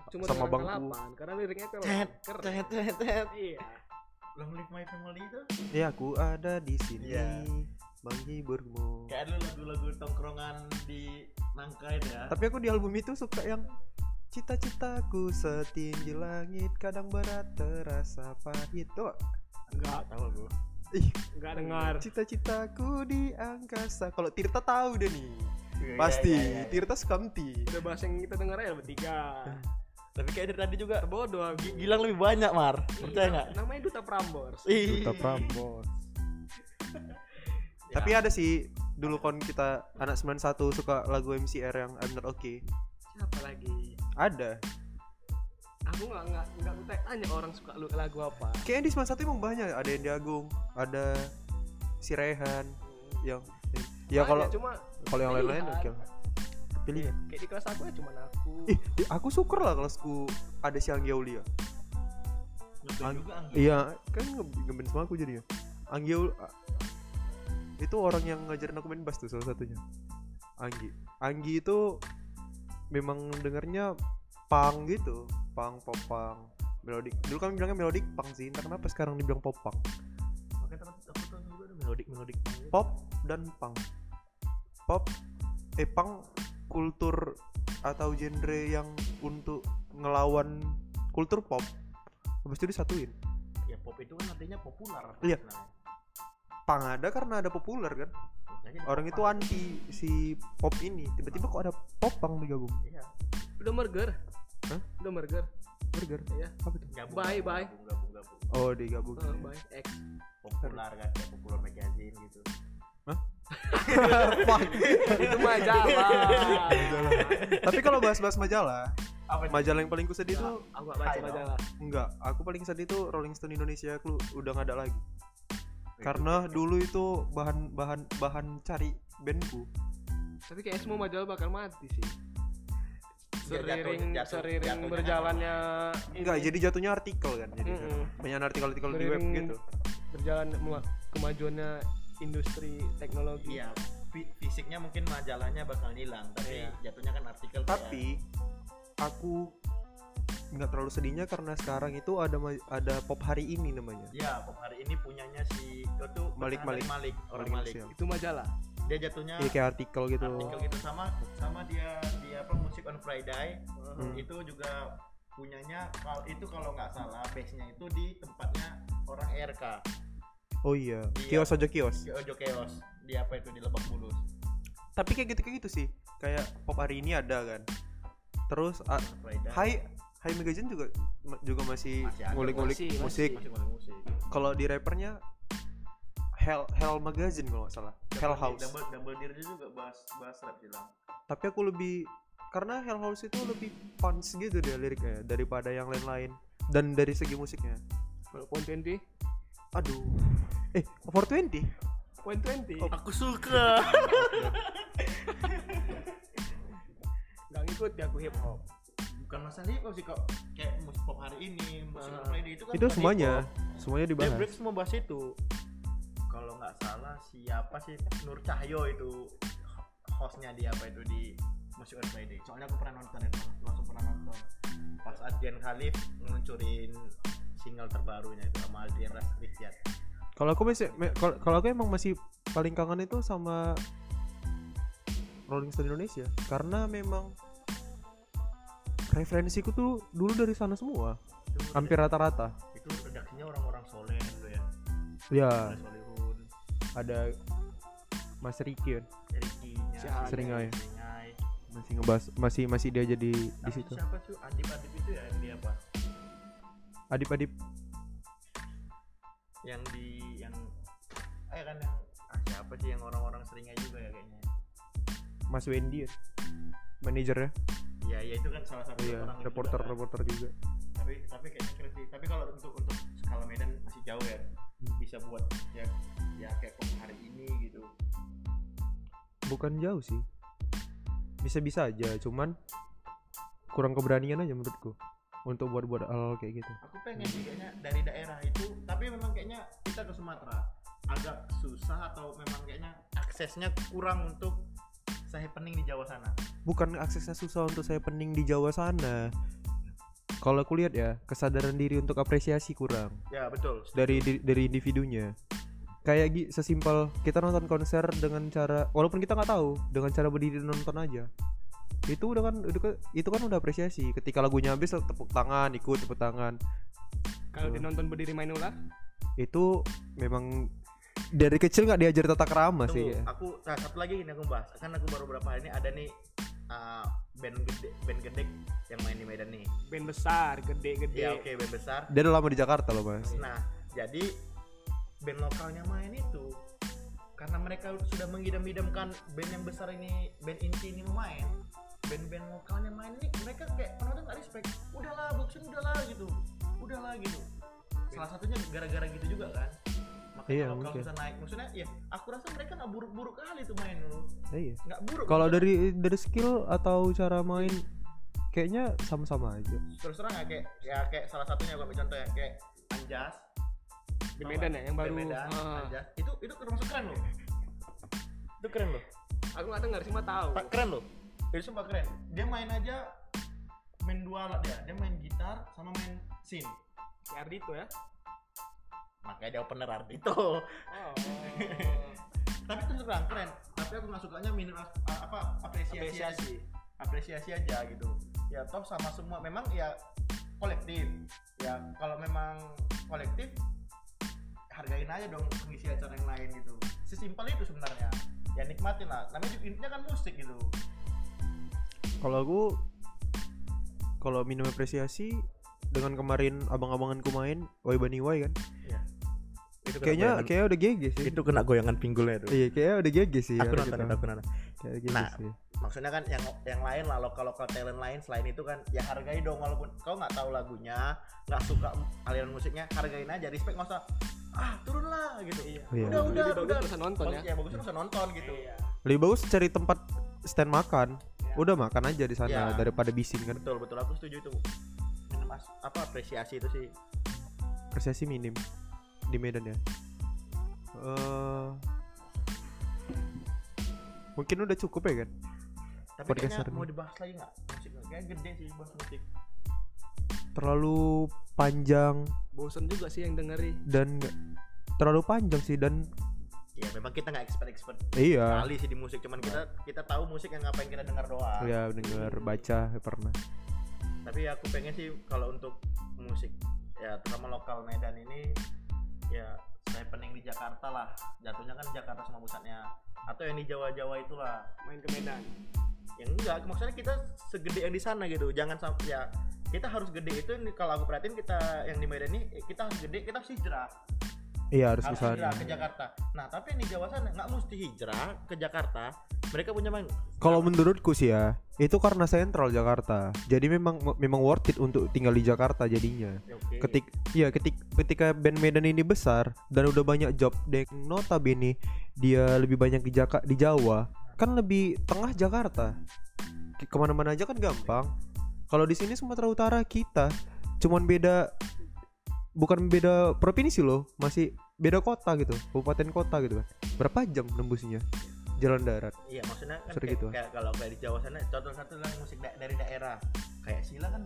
Aku cuma
Sama
dengar angka
bangku.
8 karena liriknya kan
Cet,
keren.
cet, cet, cet.
Iya.
Long Live My Family itu
ya aku ada di sini
Iya. Ya.
menghiburmu
kayak ada lagu-lagu tongkrongan di Nangka itu ya
Tapi aku di album itu suka yang Cita-citaku setinggi langit Kadang berat terasa pahit Tuh
Enggak,
tahu gue
ih,
enggak dengar.
Cita-citaku di angkasa Kalau Tirta tahu deh nih Pasti Tirta Sukamti
Udah bahas yang kita dengar aja bertiga.
tapi kayak dari tadi juga
Bodoh aku.
Gi- Gilang lebih banyak Mar percaya
Iya,
nggak Iya.
Namanya Duta Prambors.
Iya.
Ih. Ya.
Tapi ada sih Dulu kon kita Anak 91 suka lagu MCR yang I'm Not Okay
Siapa lagi?
Ada
Aku nggak nggak nggak tanya- tanya orang suka lu lagu apa.
Kayaknya di 91 emang banyak ya. Ada Endi Agung Ada Si Rehan Yang Ya
Banyak,
kalau
cuma
kalau yang lain-lain
pilihan.
oke lah. Pilihan
kayak di kelas aku ya cuma aku.
Ih, di- aku syukur lah kalau aku ada si Anggia Ulia.
Betul
An-
juga Anggi.
Iya, kan nge- ngeband sama aku jadinya. Anggia Ul- a- itu orang yang ngajarin aku main bass tuh salah satunya. Anggi. Anggi itu memang dengernya pang gitu, pang popang, melodik. Dulu kami bilangnya melodik pang sih, entah kenapa sekarang dibilang popang.
makanya teman aku tuh juga ada melodik melodik
Pop dan pang. Pop eh pang kultur atau genre yang untuk ngelawan kultur pop. Habis itu disatuin.
ya pop itu kan artinya populer
Iya.
sebenarnya.
pang ada karena ada populer kan
Makanya dia
orang itu
popang.
anti si pop ini tiba-tiba kok ada pop pang digabung
iya
Udah merger.
Hah?
Udah merger.
burger
Iya.
apa tuh
gabung
Bye,
gabung,
bye.
gabung gabung gabung
oh digabung
Eh, bye. X.
populer kan kayak populer magazine gitu
Itu mah Jawa.
Iya.
Majalah. tapi kalau bahas-bahas majalah
apa sih?
majalah yang paling ku sedih tuh
Aku gak baca
Hai, dong.
majalah.
enggak aku paling sedih tuh Rolling Stone Indonesia lu udah nggak ada
Iya.
lagi
Itu
karena dulu itu bahan bahan bahan cari bandku
Tapi kayak semua majalah bakal mati sih.
Ya, jatuh-
Sering
jatuh-
sering
jatuhnya
berjalannya ini,
enggak jadi jatuhnya artikel kan jadi
Iya. Mm-mm.
banyak artikel-artikel di web
Beriring-
gitu
berjalan mela- kemajuannya industri teknologi.
iya fi- fisiknya mungkin majalahnya bakal hilang tapi
Iya.
jatuhnya kan artikel kayak-
tapi aku nggak terlalu sedihnya karena sekarang itu ada ma- ada pop hari ini namanya
Iya, pop hari ini punyanya si itu tuh
Malik,
pesanan dari Malik, orang Malik.
Indonesia.
Itu majalah.
Dia jatuhnya
Iya, kayak artikel gitu
artikel gitu sama sama dia dia apa musik on Friday
Hmm.
itu juga punyanya kalau itu kalau nggak salah base nya itu di tempatnya orang RK
oh iya
Iya.
kios aja kios
si Ojo Chaos di apa itu di Lebak Bulus
Iya. tapi kayak gitu kayak gitu sih kayak pop hari ini ada kan terus a-
Raidan.
Hai Hai Magazine juga ma- juga masih
Masih ada,
ngulik-ngulik
masih,
musik.
Masih ngulik Iya, musik.
Kalau di rappernya Hell Hell Magazine kalau nggak salah. Hell House.
Double double deer juga bahas bahas rap sih Lang.
Tapi aku lebih karena Hell House itu lebih punch gitu dia liriknya daripada yang lain-lain dan dari segi musiknya.
Walaupun 20
Aduh. Eh, 420.
Point 20
Aku suka.
Gak ngikut ya aku hip hop
Bukan masalah hip hop sih kok. Kayak musik pop hari ini, musik
Ah.
Friday itu kan
Itu
bukan
semuanya,
hip
semuanya
hop. Dia
dibahas.
break semua bahas itu. Kalau nggak salah siapa sih Nur Cahyo itu hostnya di apa itu di musik on Friday. Soalnya aku pernah nonton itu, langsung pernah nonton. Pas Adrian Khalif ngeluncurin single terbarunya itu sama Adrian Rizkyat.
Kalau aku masih me- kalau kalau aku emang masih paling kangen itu sama Rolling Stone Indonesia karena memang referensiku tuh dulu dari sana semua, hampir rata-rata.
itu redaksinya orang-orang soleh dulu ya.
Ya,
Ada Solihun,
ada Mas Ricky kan?
Ricky-nya,
Si Hanai.
Seringai.
Seringai.
masih ngebahas masih masih dia jadi di
Tapi
situ.
siapa tuh adip-adip itu ya yang di apa?
Adip-adip
Yang di yang eh kan yang ah, siapa sih yang orang-orang Seringai juga ya kayaknya.
Mas Wendy ya. Manajernya,
Ya, ya itu kan salah satu
iya,
orang juga
reporter
kan.
reporter juga.
Tapi tapi kayaknya keren sih. Tapi kalau untuk untuk skala Medan masih jauh ya.
Hmm.
Bisa buat ya ya kayak kok hari ini gitu.
Bukan jauh sih, bisa-bisa aja, cuman kurang keberanian aja menurutku untuk buat-buat hal kayak gitu.
Aku pengen sih kayaknya dari daerah itu, tapi memang kayaknya kita ke Sumatera agak susah atau memang kayaknya aksesnya kurang untuk saya pening di Jawa sana.
bukan aksesnya susah untuk saya pening di Jawa sana. Kalau aku lihat ya, kesadaran diri untuk apresiasi kurang
Ya betul.
dari di- dari individunya. Kayak gi- sesimpel kita nonton konser dengan cara walaupun kita nggak tahu, dengan cara berdiri dan nonton aja. Itu udah kan itu kan, itu kan udah apresiasi. Ketika lagunya habis tepuk tangan, ikut tepuk tangan.
Kalau dia nonton berdiri main ular
Itu memang dari kecil nggak diajar tata kerama sih
Tunggu,
ya.
aku nah, satu lagi ini aku bahas. Kan aku baru beberapa hari ini ada nih uh, band gede, band gede yang main di Medan nih.
Band besar, gede-gede
Iya,
Ya
Iya.
oke band besar.
Dia udah lama di Jakarta loh, Mas.
Nah jadi band lokalnya main itu karena mereka sudah mengidam-idamkan band yang besar ini band inti ini mau main band-band lokalnya main ini mereka kayak penonton nggak respect udahlah boxing udahlah gitu udahlah gitu salah satunya gara-gara gitu juga kan makanya
Iya,
lokal
mungkin.
bisa naik maksudnya ya aku rasa mereka nggak buruk-buruk kali tuh main dulu
Eh, iya.
nggak buruk
Kalau dari dari skill atau cara main kayaknya sama-sama aja.
terus terang ya kayak ya kayak salah satunya kalau ambil contoh ya kayak Anjas
Di Medan ya, yang
Band
baru
Medan,
Ah.
Anjas itu itu termasuk keren loh itu keren loh
Aku gak denger, cuma tahu
tak keren loh itu sumpah keren dia main aja main dua alat dia dia main gitar sama main sin
Si Ardito ya
makanya dia opener Ardito
Oh
tapi terus terang keren tapi aku nggak sukanya minim as- a- apa apresiasi apresiasi,
Apresiasi
aja gitu ya toh sama semua memang ya kolektif ya kalau memang kolektif hargain aja dong pengisi acara yang lain gitu sesimpel itu sebenarnya ya nikmatin lah namanya juga intinya kan musik gitu
Kalau aku kalau minum apresiasi dengan kemarin abang-abanganku main Oi Bani Wai kan.
Iya. Itu
Kayaknya kayaknya udah GG sih.
kena goyangan pinggulnya tuh
Iya, kayaknya udah GG sih. gitu.
aku
harus
nonton
kita-
itu, aku nonton
Kayak gitu
Nah.
sih.
maksudnya kan yang yang lain lah lokal lokal talent lain selain itu kan ya hargai dong walaupun kau nggak tahu lagunya nggak suka aliran musiknya hargain aja respect nggak usah ah turun lah gitu iya.
Iya.
udah udah
Lebih
udah
bagus bisa nonton ya
ya bagus bisa nonton gitu
Lebih bagus cari tempat stand makan. Udah makan aja di sana
Iya.
daripada bising kan.
betul betul aku setuju itu Minum as- apa apresiasi itu sih
Apresiasi minim di Medan ya. Eh, mungkin udah cukup ya kan?
tapi
Podcast
kayaknya
hari
mau
ini.
dibahas lagi nggak musik kayak gede sih bahas musik
Terlalu panjang
Bosen juga sih yang dengeri
dan nggak- terlalu panjang sih dan
ya memang kita nggak expert expert
iya
kali sih di musik cuman kita kita tahu musik yang ngapain kita dengar doang
ya dengar baca ya pernah
tapi ya aku pengen sih kalau untuk musik ya terutama lokal Medan ini ya happening di Jakarta lah jatuhnya kan Jakarta sama pusatnya atau yang di Jawa-Jawa itulah
main ke Medan
yang enggak maksudnya kita segede yang di sana gitu jangan sampai ya kita harus gede itu yang di- kalau aku perhatiin kita yang di Medan ini eh, kita harus gede kita harus hijrah
Iya harus
harus
bisa.
hijrah ke Jakarta nah tapi yang di Jawa sana nggak mesti hijrah ke Jakarta mereka punya main
Kalau menurutku sih ya, itu karena sentral Jakarta. Jadi memang memang worth it untuk tinggal di Jakarta jadinya.
Ya, oke.
Ketik iya ketik ketika band Medan ini besar dan udah banyak job dan notabene dia lebih banyak di Jaka, di Jawa, kan lebih tengah Jakarta. Ke- Kemana-mana aja kan gampang. Kalau di sini Sumatera Utara kita cuman beda bukan beda provinsi loh, masih beda kota gitu, kabupaten kota gitu kan. Berapa jam nembusnya jalan darat?
iya maksudnya kan kayak,
Sering gitu.
kayak kalau kayak di Jawa sana contoh satu lah musik da- dari daerah kayak Sila kan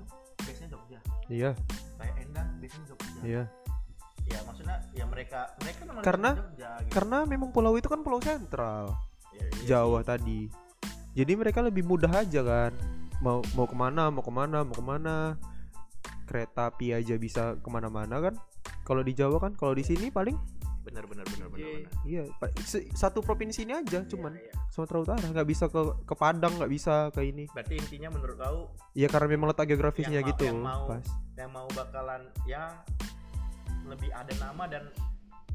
biasanya Jogja
Iya,
kayak Endang biasanya Jogja
iya.
ya maksudnya ya mereka mereka kan orang
Karena-
Jogja gitu.
Karena memang pulau itu kan pulau sentral
Ya, iya.
Jawa tadi. Jadi mereka lebih mudah aja kan. Mau mau kemana, mau kemana, mau kemana. Kereta api aja bisa kemana-mana kan. Kalau di Jawa kan, kalau di sini paling
benar benar benar benar
Iya.
benar
iya pa- se- satu provinsi ini aja cuman
Iya, iya.
Sumatera Utara nggak bisa ke ke Padang nggak bisa ke ini.
berarti intinya menurut kau
Iya karena memang letak
Yang
geografisnya
mau-
gitu.
yang mau.
Pas.
yang mau bakalan ya lebih ada nama dan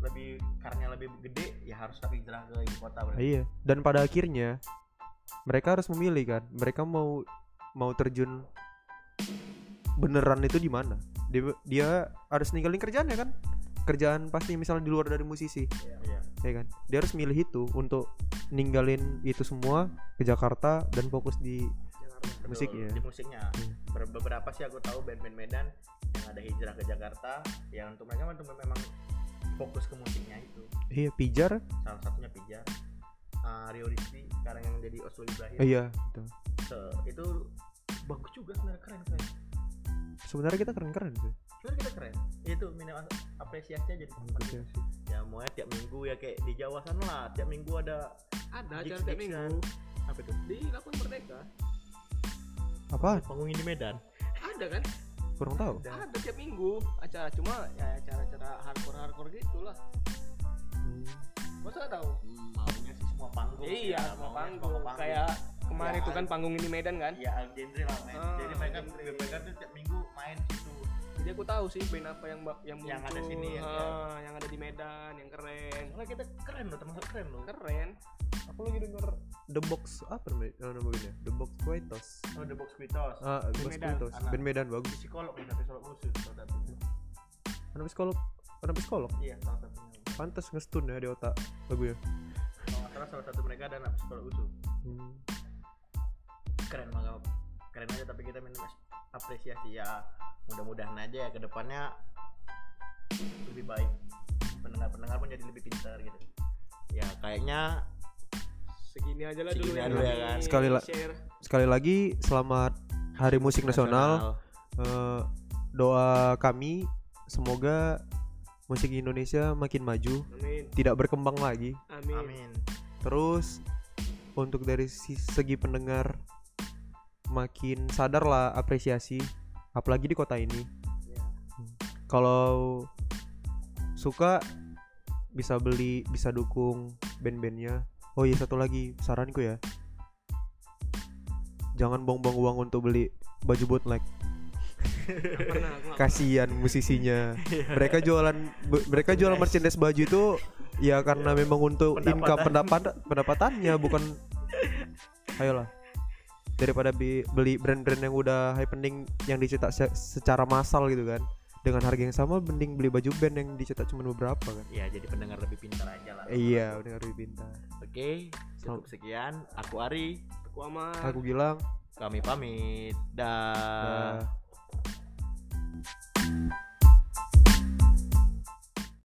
lebih karnya lebih gede ya harus tapi hijrah ke ibu kota
Nah,
berarti.
iya. Dan pada akhirnya mereka harus memilih kan. Mereka mau mau terjun beneran itu di mana? Dia, dia harus ninggalin kerjaan ya kan? Kerjaan pasti misalnya di luar dari musisi,
Iya.
ya kan? Dia harus milih itu untuk ninggalin itu semua ke Jakarta dan fokus di
Iya, Betul,
musiknya.
Di musiknya.
Hmm.
Ber- Beberapa sih aku tahu band-band Medan yang ada hijrah ke Jakarta ya untuk mereka untuk memang fokus ke musiknya itu.
Iya, pijar.
Salah satunya Pijar. Ah, Rio Rizky sekarang yang jadi Oslo Ibrahim.
Eh, iya, betul.
Se- itu bagus juga sebenarnya keren keren.
Sebenarnya kita keren-keren sih.
Sebenarnya kita keren. Itu minim apresiasinya jadi keren.
Apresiasi.
ya mau tiap minggu ya kayak di Jawa sana lah tiap minggu ada
ada
Gigs-
acara tiap
gigs
minggu
apa itu
di Lapangan Merdeka
Apa?
panggung di Medan
ada kan
Kurang tahu.
ada tiap minggu acara cuma ya acara-acara hardcore hardcore gitulah
Hmm,
masa nggak tahu
maunya sih semua panggung
iya
Ya,
mau
maunya
panggung kayak
Iya.
kemarin
Ya,
itu kan panggung ini Medan kan
ya genre lah main
Ah,
jadi mereka
genre.
mereka tuh tiap minggu main gitu. situ
jadi aku tahu sih band apa yang ba- yang
Yang
muncul
ada sini ya,
Ah,
ya.
yang ada di Medan yang keren
soalnya kita keren loh termasuk keren loh
keren
Aku lagi denger The Box apa namanya? Eh, nama bandnya? The Box Quietos.
oh, the box Quitos
Ah, The Box
Medan,
Quietos.
anak.
Band Medan bagus.
psikolog nih tapi psikolog khusus salah satunya
Anak psikolog. Anak psikolog.
iya salah satunya
Pantes ngestun ya di otak lagunya.
kalau nggak salah salah satu mereka ada anak psikolog khusus
Hmm.
keren banget keren aja tapi kita minta apresiasi ya mudah-mudahan aja ya kedepannya lebih baik pendengar-pendengar pun jadi lebih pintar gitu ya kayaknya
segini aja lah
Segini
dulu
aja dulu ya kan.
Sekali la-
share
Sekali lagi selamat Hari Musik Nasional. Eh, doa kami semoga musik Indonesia makin maju,
amin
tidak berkembang lagi.
amin,
amin
Terus untuk dari si- segi pendengar makin sadarlah apresiasi apalagi di kota ini. Hmm. Kalau suka bisa beli, bisa dukung band-bandnya. Oh iya satu lagi saranku ya. Jangan buang-buang uang untuk beli baju bootleg
Nggak pernah aku nggak
kasihan musisinya mereka jualan be- mereka jualan merchandise baju itu ya karena memang untuk income pendapat pendapatannya bukan ayolah daripada bi- beli brand-brand yang udah happening yang dicetak se- secara massal gitu kan dengan harga yang sama mending beli baju band yang dicetak cuma beberapa kan
ya jadi pendengar lebih pintar aja lah
iya udah harus bintang
oke cukup sekian aku Ari
aku aman
aku bilang eh,
kami pamit dah
"Dah."